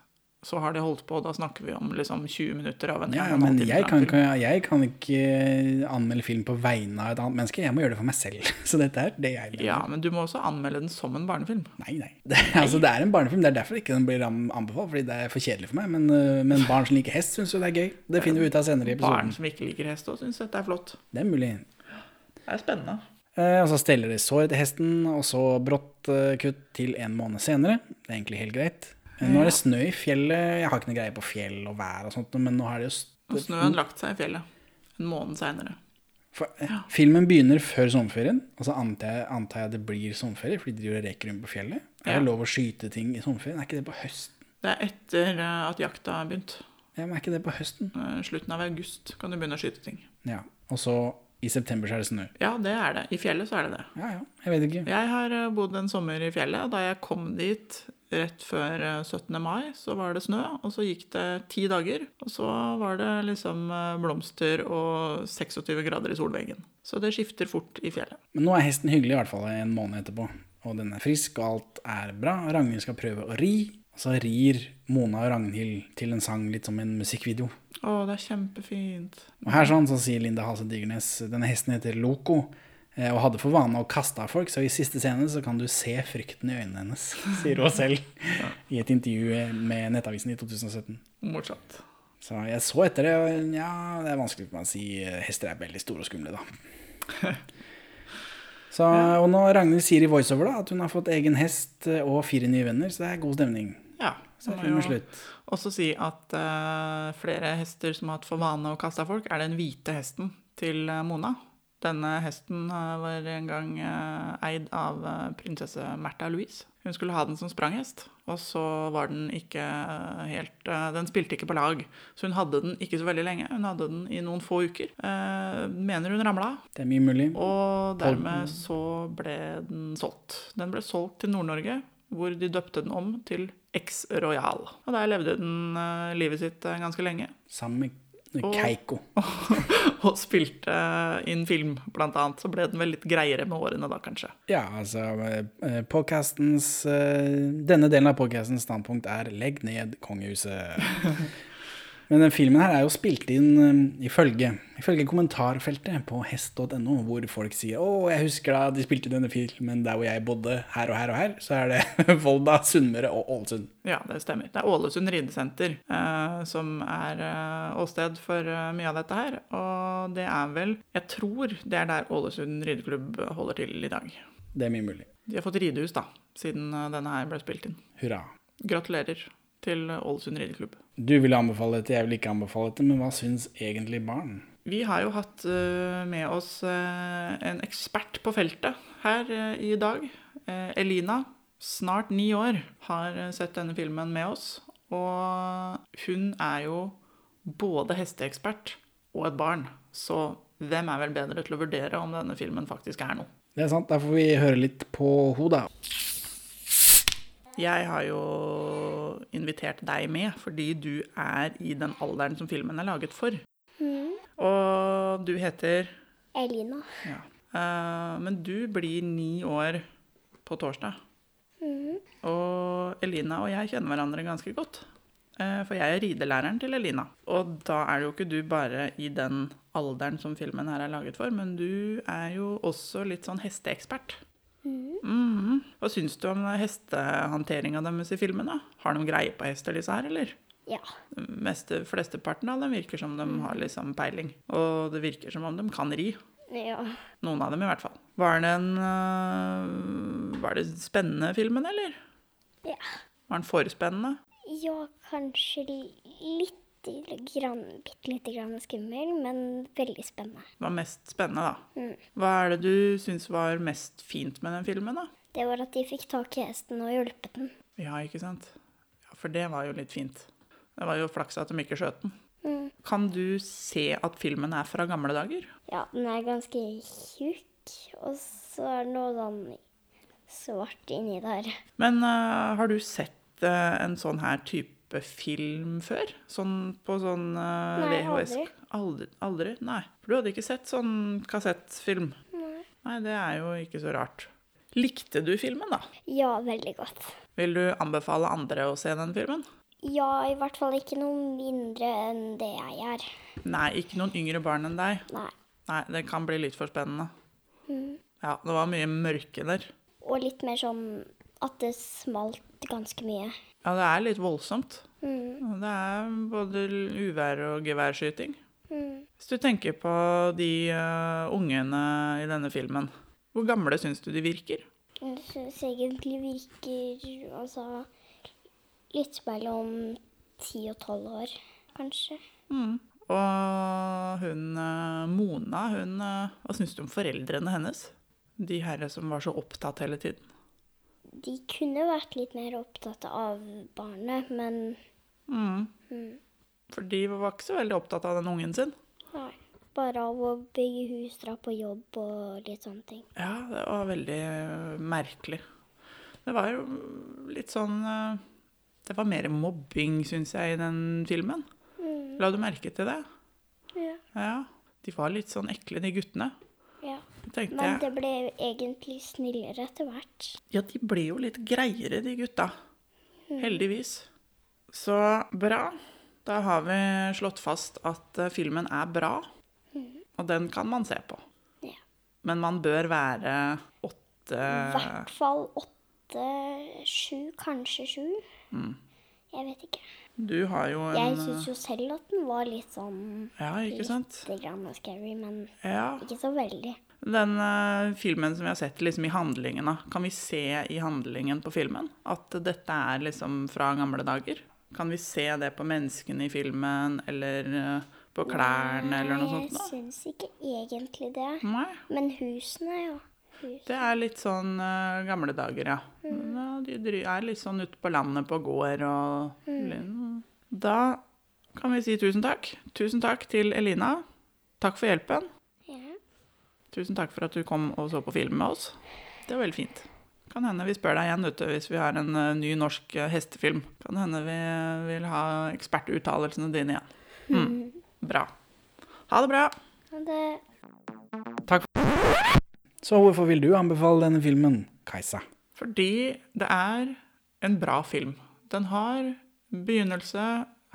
S2: Så har de holdt på, og da snakker vi om liksom 20 minutter av en
S1: Ja, ja,
S2: en og en halv
S1: men
S2: time
S1: jeg
S2: lang
S1: kan,
S2: film.
S1: ikke, jeg kan ikke anmelde film på vegne av et annet menneske. Jeg må gjøre det for meg selv. Så dette her, det er jeg.
S2: Ja, men du må også anmelde den som en barnefilm.
S1: Nei, nei. Det, altså, det er en barnefilm. Det er derfor ikke den blir an- anbefalt, fordi det er for kjedelig for meg. Men, øh, men barn som liker hest, syns jo det er gøy. Det finner vi ut av senere i
S2: Barn
S1: episoden.
S2: som ikke liker hest òg, syns dette er flott.
S1: Det er mulig.
S2: Det er spennende.
S1: Eh, og så steller de såret til hesten, og så brått eh, kutt til en måned senere. Det er egentlig helt greit. Eh, Nå er det snø i fjellet. Jeg har ikke noe greie på fjell og vær og sånt, men nå er det jo
S2: Og
S1: st-
S2: snøen lagt seg i fjellet en måned seinere.
S1: For, eh, Filmen begynner før sommerferien, og så antar jeg, antar jeg det blir sommerferie, fordi de driver og reker rundt på fjellet. Er
S2: Ja.
S1: det lov å skyte ting i sommerferien? Er ikke det på høsten?
S2: Det er etter eh, at jakta har begynt.
S1: Ja, men er ikke det på høsten?
S2: Eh, Slutten av august kan du begynne å skyte ting.
S1: Ja, Og så i september så er det snø.
S2: Ja, det er det. I fjellet så er det det.
S1: Ja ja, jeg vet ikke.
S2: Jeg har eh, bodd en sommer i fjellet. Da jeg kom dit rett før eh, 17. mai, så var det snø. Og så gikk det ti dager. Og så var det liksom eh, blomster og 26 grader i solveggen. Så det skifter fort i fjellet.
S1: Men nå er hesten hyggelig i hvert fall en måned etterpå. Og den er frisk, og alt er bra. og Ragnhild skal prøve å ri. Og så rir Mona og Ragnhild til en sang litt som en musikkvideo.
S2: Å, det er kjempefint.
S1: Og her sånn så sier Linda Hase Digernes Denne hesten heter Loco. eh, og hadde for vane å kaste av folk, så i siste scene så kan du se frykten i øynene hennes, sier hun selv i et intervju med Nettavisen i 2017.
S2: Morsomt.
S1: Så jeg så etter det, og ja, det er vanskelig for meg å si. eh, Hester er veldig store og skumle, da. Så, og nå Ragnhild sier i voiceover da, at hun har fått egen hest eh, og fire nye venner, så det er god stemning.
S2: Ja.
S1: Så
S2: må
S1: filmen
S2: Sånn jo
S1: slutt.
S2: Også si at eh, flere hester som har hatt for vane å kaste av folk, er den hvite hesten til eh, Mona. Denne hesten eh, var en gang eh, eid av eh, prinsesse Märtha Louise. Hun skulle ha den som spranghest, og så var den ikke eh, helt eh, Den spilte ikke på lag, så hun hadde den ikke så veldig lenge. Hun hadde den i noen få uker. Eh, mener hun ramla av.
S1: Det er mye mulig.
S2: Og dermed så ble den solgt. Den ble solgt til Nord-Norge, hvor de døpte den om til Ex Royal. Og der levde den eh, livet sitt eh, ganske lenge.
S1: Sammen med Keiko.
S2: og spilte eh, inn film, blant annet. Så ble den vel litt greiere med årene da, kanskje.
S1: Ja, altså eh, podcastens, eh, Denne delen av podcastens standpunkt er 'legg ned kongehuset'. Men den filmen her er jo spilt inn eh, ifølge, ifølge kommentarfeltet på hest.no, hvor folk sier 'Å, jeg husker da de spilte denne filmen der hvor jeg bodde, her og her og her', så er det Volda, Sunnmøre og Ålesund.
S2: Ja, det stemmer. Det er Ålesund ridesenter eh, som er eh, åsted for eh, mye av dette her. Og det er vel Jeg tror det er der Ålesund rideklubb holder til i dag.
S1: Det er mye mulig.
S2: De har fått ridehus, da, siden eh, denne her ble spilt inn.
S1: Hurra.
S2: Gratulerer til Ålesund rideklubb.
S1: Du ville anbefale dette, jeg vil ikke anbefale dette, men hva syns egentlig barn?
S2: Vi har jo hatt eh, med oss eh, en ekspert på feltet her eh, i dag. Eh, Elina, snart ni år, har eh, sett denne filmen med oss. Og hun er jo både hesteekspert og et barn, så hvem er vel bedre til å vurdere om denne filmen faktisk er noe?
S1: Det er sant, da får vi høre litt på ho, da.
S2: Jeg har jo invitert deg med fordi du er i den alderen som filmen er laget for. Og du heter
S8: Elina.
S2: ja. Eh, Men du blir ni år på torsdag. Og Elina og jeg kjenner hverandre ganske godt. Eh, For jeg er ridelæreren til Elina. Og da er jo ikke du bare i den alderen som filmen her er laget for, men du er jo også litt sånn hesteekspert. Mhm. Hva syns du om hestehåndteringa deres i filmen? da? Har de greie på hester, disse her, eller?
S8: Ja.
S2: Meste, flesteparten av dem virker som de har liksom peiling. Og det virker som om de kan ri.
S8: Ja.
S2: Noen av dem i hvert fall. Var det en øh, Var det spennende filmen, eller?
S8: Ja.
S2: Var den forespennende?
S8: Ja, kanskje litt grann, bitte lite grann skummel, men veldig spennende.
S2: Det var mest spennende, da.
S8: Mm.
S2: Hva er det du syns var mest fint med den filmen, da?
S8: Det var at de fikk tak i hesten og hjulpet den.
S2: Ja, ikke sant? Ja, For det var jo litt fint. Det var jo flaks at de ikke skjøt den.
S8: Mm.
S2: Kan du se at filmen er fra gamle dager?
S8: Ja, den er ganske tjukk, og så er det noe sånn svart inni der.
S2: Men øh, har du sett øh, en sånn her type film før? Sånn på sånn øh,
S8: Nei,
S2: VHS?
S8: aldri.
S2: aldri. Aldri? Nei. For du hadde ikke sett sånn kassettfilm? Nei. Nei, det er jo ikke så rart. Likte du filmen, da?
S8: Ja, veldig godt.
S2: Vil du anbefale andre å se den filmen?
S8: Ja, i hvert fall ikke noe mindre enn det jeg er.
S2: Nei, ikke noen yngre barn enn deg.
S8: Nei.
S2: Nei, det kan bli litt for spennende. Ja, det var mye mørke der.
S8: Og litt mer sånn at det smalt ganske mye.
S2: Ja, det er litt voldsomt. Det er både uvær og geværskyting. Hvis du tenker på de eh, ungene i denne filmen, hvor gamle syns du de virker?
S8: Jeg syns egentlig virker altså litt mellom ti og tolv år, kanskje.
S2: Og hun eh, Mona, hun eh, Hva syns du om foreldrene hennes? De herre som var så opptatt hele tiden.
S8: De kunne vært litt mer opptatt av barnet, men
S2: For de var ikke så veldig opptatt av den ungen sin.
S8: nei. Bare av å bygge hus, dra på jobb og litt sånne ting.
S2: Ja, det var veldig eh, merkelig. Det var jo litt sånn eh, Det var mer mobbing, syns jeg, i den filmen. La du merke til det?
S8: Mm. Ja.
S2: Ja. De var litt sånn ekle, de guttene.
S8: ja.
S2: Jeg tenkte
S8: Men det
S2: jeg.
S8: ble egentlig snillere etter hvert.
S2: Ja, de ble jo litt greiere, de gutta.
S8: Mm.
S2: Heldigvis. Så bra. Da har vi slått fast at eh, filmen er bra, og den kan man se på.
S8: Mm. Ja.
S2: Men man bør være åtte
S8: I hvert fall åtte, sju, kanskje sju. Jeg vet ikke.
S2: Du har jo en
S8: Jeg syns jo selv at den var litt sånn
S2: Ja, ikke sant?
S8: litt grann scary, men
S2: Ja.
S8: ikke så veldig.
S2: Den eh, filmen som vi har sett liksom i handlingen, da. Kan vi se i handlingen på filmen at dette er liksom fra gamle dager? Kan vi se det på menneskene i filmen, eller eh, på klærne, eller noe sånt?
S8: Jeg
S2: da?
S8: syns ikke egentlig det.
S2: Nei.
S8: Men husene, ja. Hus.
S2: Det er litt sånn eh, gamle dager, ja. ja. De dry- er litt sånn ute på landet på gård og mm. Da kan vi si tusen takk. Tusen takk til Elina. Takk for hjelpen.
S8: Ja.
S2: Tusen takk for at du kom og så på film med oss. Det var veldig fint. Kan hende vi spør deg igjen vet du, hvis vi har en eh, ny norsk eh, hestefilm. Kan hende vi eh, vil ha ekspertuttalelsene dine igjen. Mm. Bra. Ha det bra.
S8: Men det
S1: Så hvorfor vil du anbefale denne filmen, Kajsa?
S2: Fordi det er en bra film. Den har begynnelse,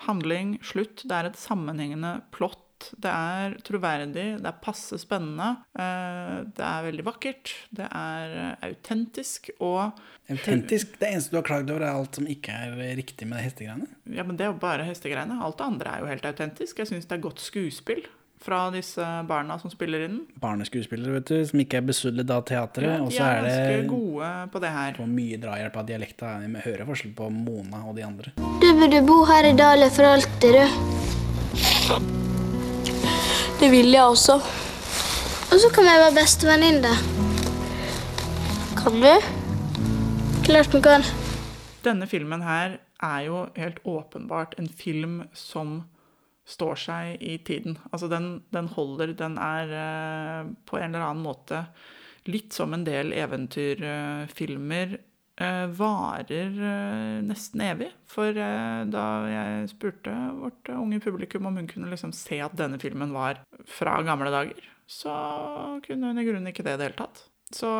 S2: handling, slutt. Det er et sammenhengende plott. Det er troverdig, det er passe spennende. eh, Det er veldig vakkert, det er eh, autentisk og
S1: Autentisk. Det eneste du har klagd over, er alt som ikke er eh, riktig med de hestegreiene.
S2: Ja, men det er jo bare hestegreiene. Alt det andre er jo helt autentisk. Jeg syns det er godt skuespill fra disse barna som spiller inn.
S1: Barneskuespillere, vet du, som ikke er besudlet av teatret. Og
S2: De
S1: så
S2: er
S1: er
S2: ganske
S1: det
S2: gode på det her.
S1: på mye drahjelp av dialekta. Jeg hører forskjell på Mona og de andre.
S8: Du burde bo her i Dale for alltid, du.
S7: Det vil jeg også.
S8: Og så kan jeg være bestevenninne. Kan du? Klart vi kan.
S2: Denne filmen her er jo helt åpenbart en film som står seg i tiden. Altså, den, den holder. Den er eh, på en eller annen måte litt som en del eventyrfilmer. eh, varer eh, nesten evig. For eh, da jeg spurte vårt eh, unge publikum om hun kunne liksom se at denne filmen var fra gamle dager, så kunne hun i grunnen ikke det i det hele tatt. Så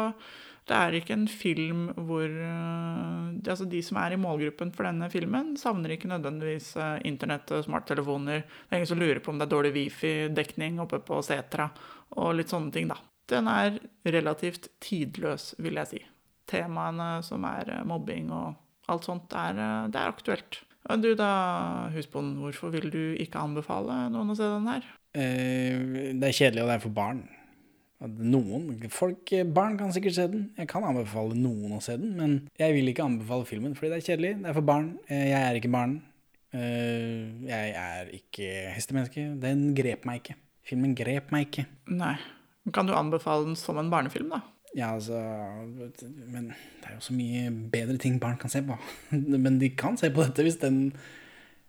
S2: det er ikke en film hvor eh, de- Altså, de som er i målgruppen for denne filmen, savner ikke nødvendigvis eh, internett og smarttelefoner. Det er ingen som lurer på om det er dårlig wifi-dekning oppe på setra og litt sånne ting, da. Den er relativt tidløs, vil jeg si. Temaene som er eh, mobbing og alt sånt, er, eh, det er aktuelt. Og Du da, husbonden, hvorfor vil du ikke anbefale noen å se den her?
S1: Eh, det er kjedelig, og det er for barn. At Noen folk, barn kan sikkert se den. Jeg kan anbefale noen å se den, men jeg vil ikke anbefale filmen fordi det er kjedelig. Det er for barn. Eh, Jeg er ikke barn. Eh, Jeg er ikke hestemenneske. Den grep meg ikke. Filmen grep meg ikke.
S2: Nei. Kan du anbefale den som en barnefilm, da?
S1: Ja, altså Men det er jo så mye bedre ting barn kan se på. Men de kan se på dette hvis den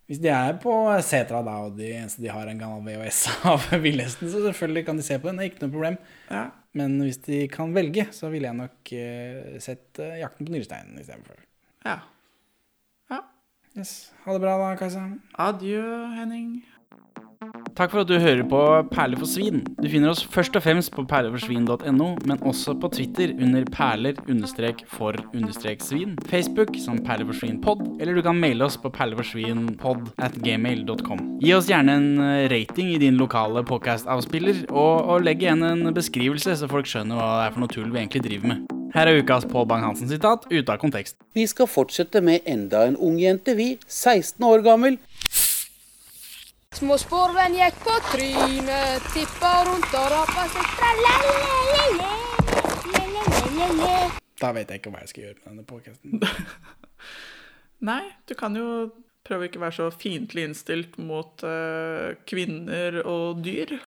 S1: Hvis de er på setra da, og de eneste de har, er en gammel VHS av Villhesten, så selvfølgelig kan de se på den. Det er ikke noe problem.
S2: Ja.
S1: Men hvis de kan velge, så ville jeg nok eh, sett eh, 'Jakten på nyresteinen' istedenfor.
S2: Ja. ja.
S1: Yes. Ha det bra da, Kajsa.
S2: Adjø, Henning.
S1: Takk for at du hører på Perler for svin. Du finner oss først og fremst på perleforsvin.no, men også på Twitter under perler-for-svin, Facebook som perleforsvinpod, eller du kan maile oss på perleforsvinpod at gmail.com. Gi oss gjerne en eh, rating i din lokale podcast-avspiller, og, og legg igjen en beskrivelse, så folk skjønner hva det er for noe tull vi egentlig driver med. Her er ukas Pål Bang-Hansen sitat ute av kontekst.
S10: Vi skal fortsette med enda en ung jente, vi. 16 år gammel.
S7: Små sporven gikk på trynet, tippa rundt og rappa seg
S8: Le-le-le-le-le-le-le-le.
S1: Da vet jeg ikke hva jeg skal gjøre med denne podcasten.
S2: Nei, du kan jo prøve ikke å være så fiendtlig innstilt mot eh, kvinner og dyr.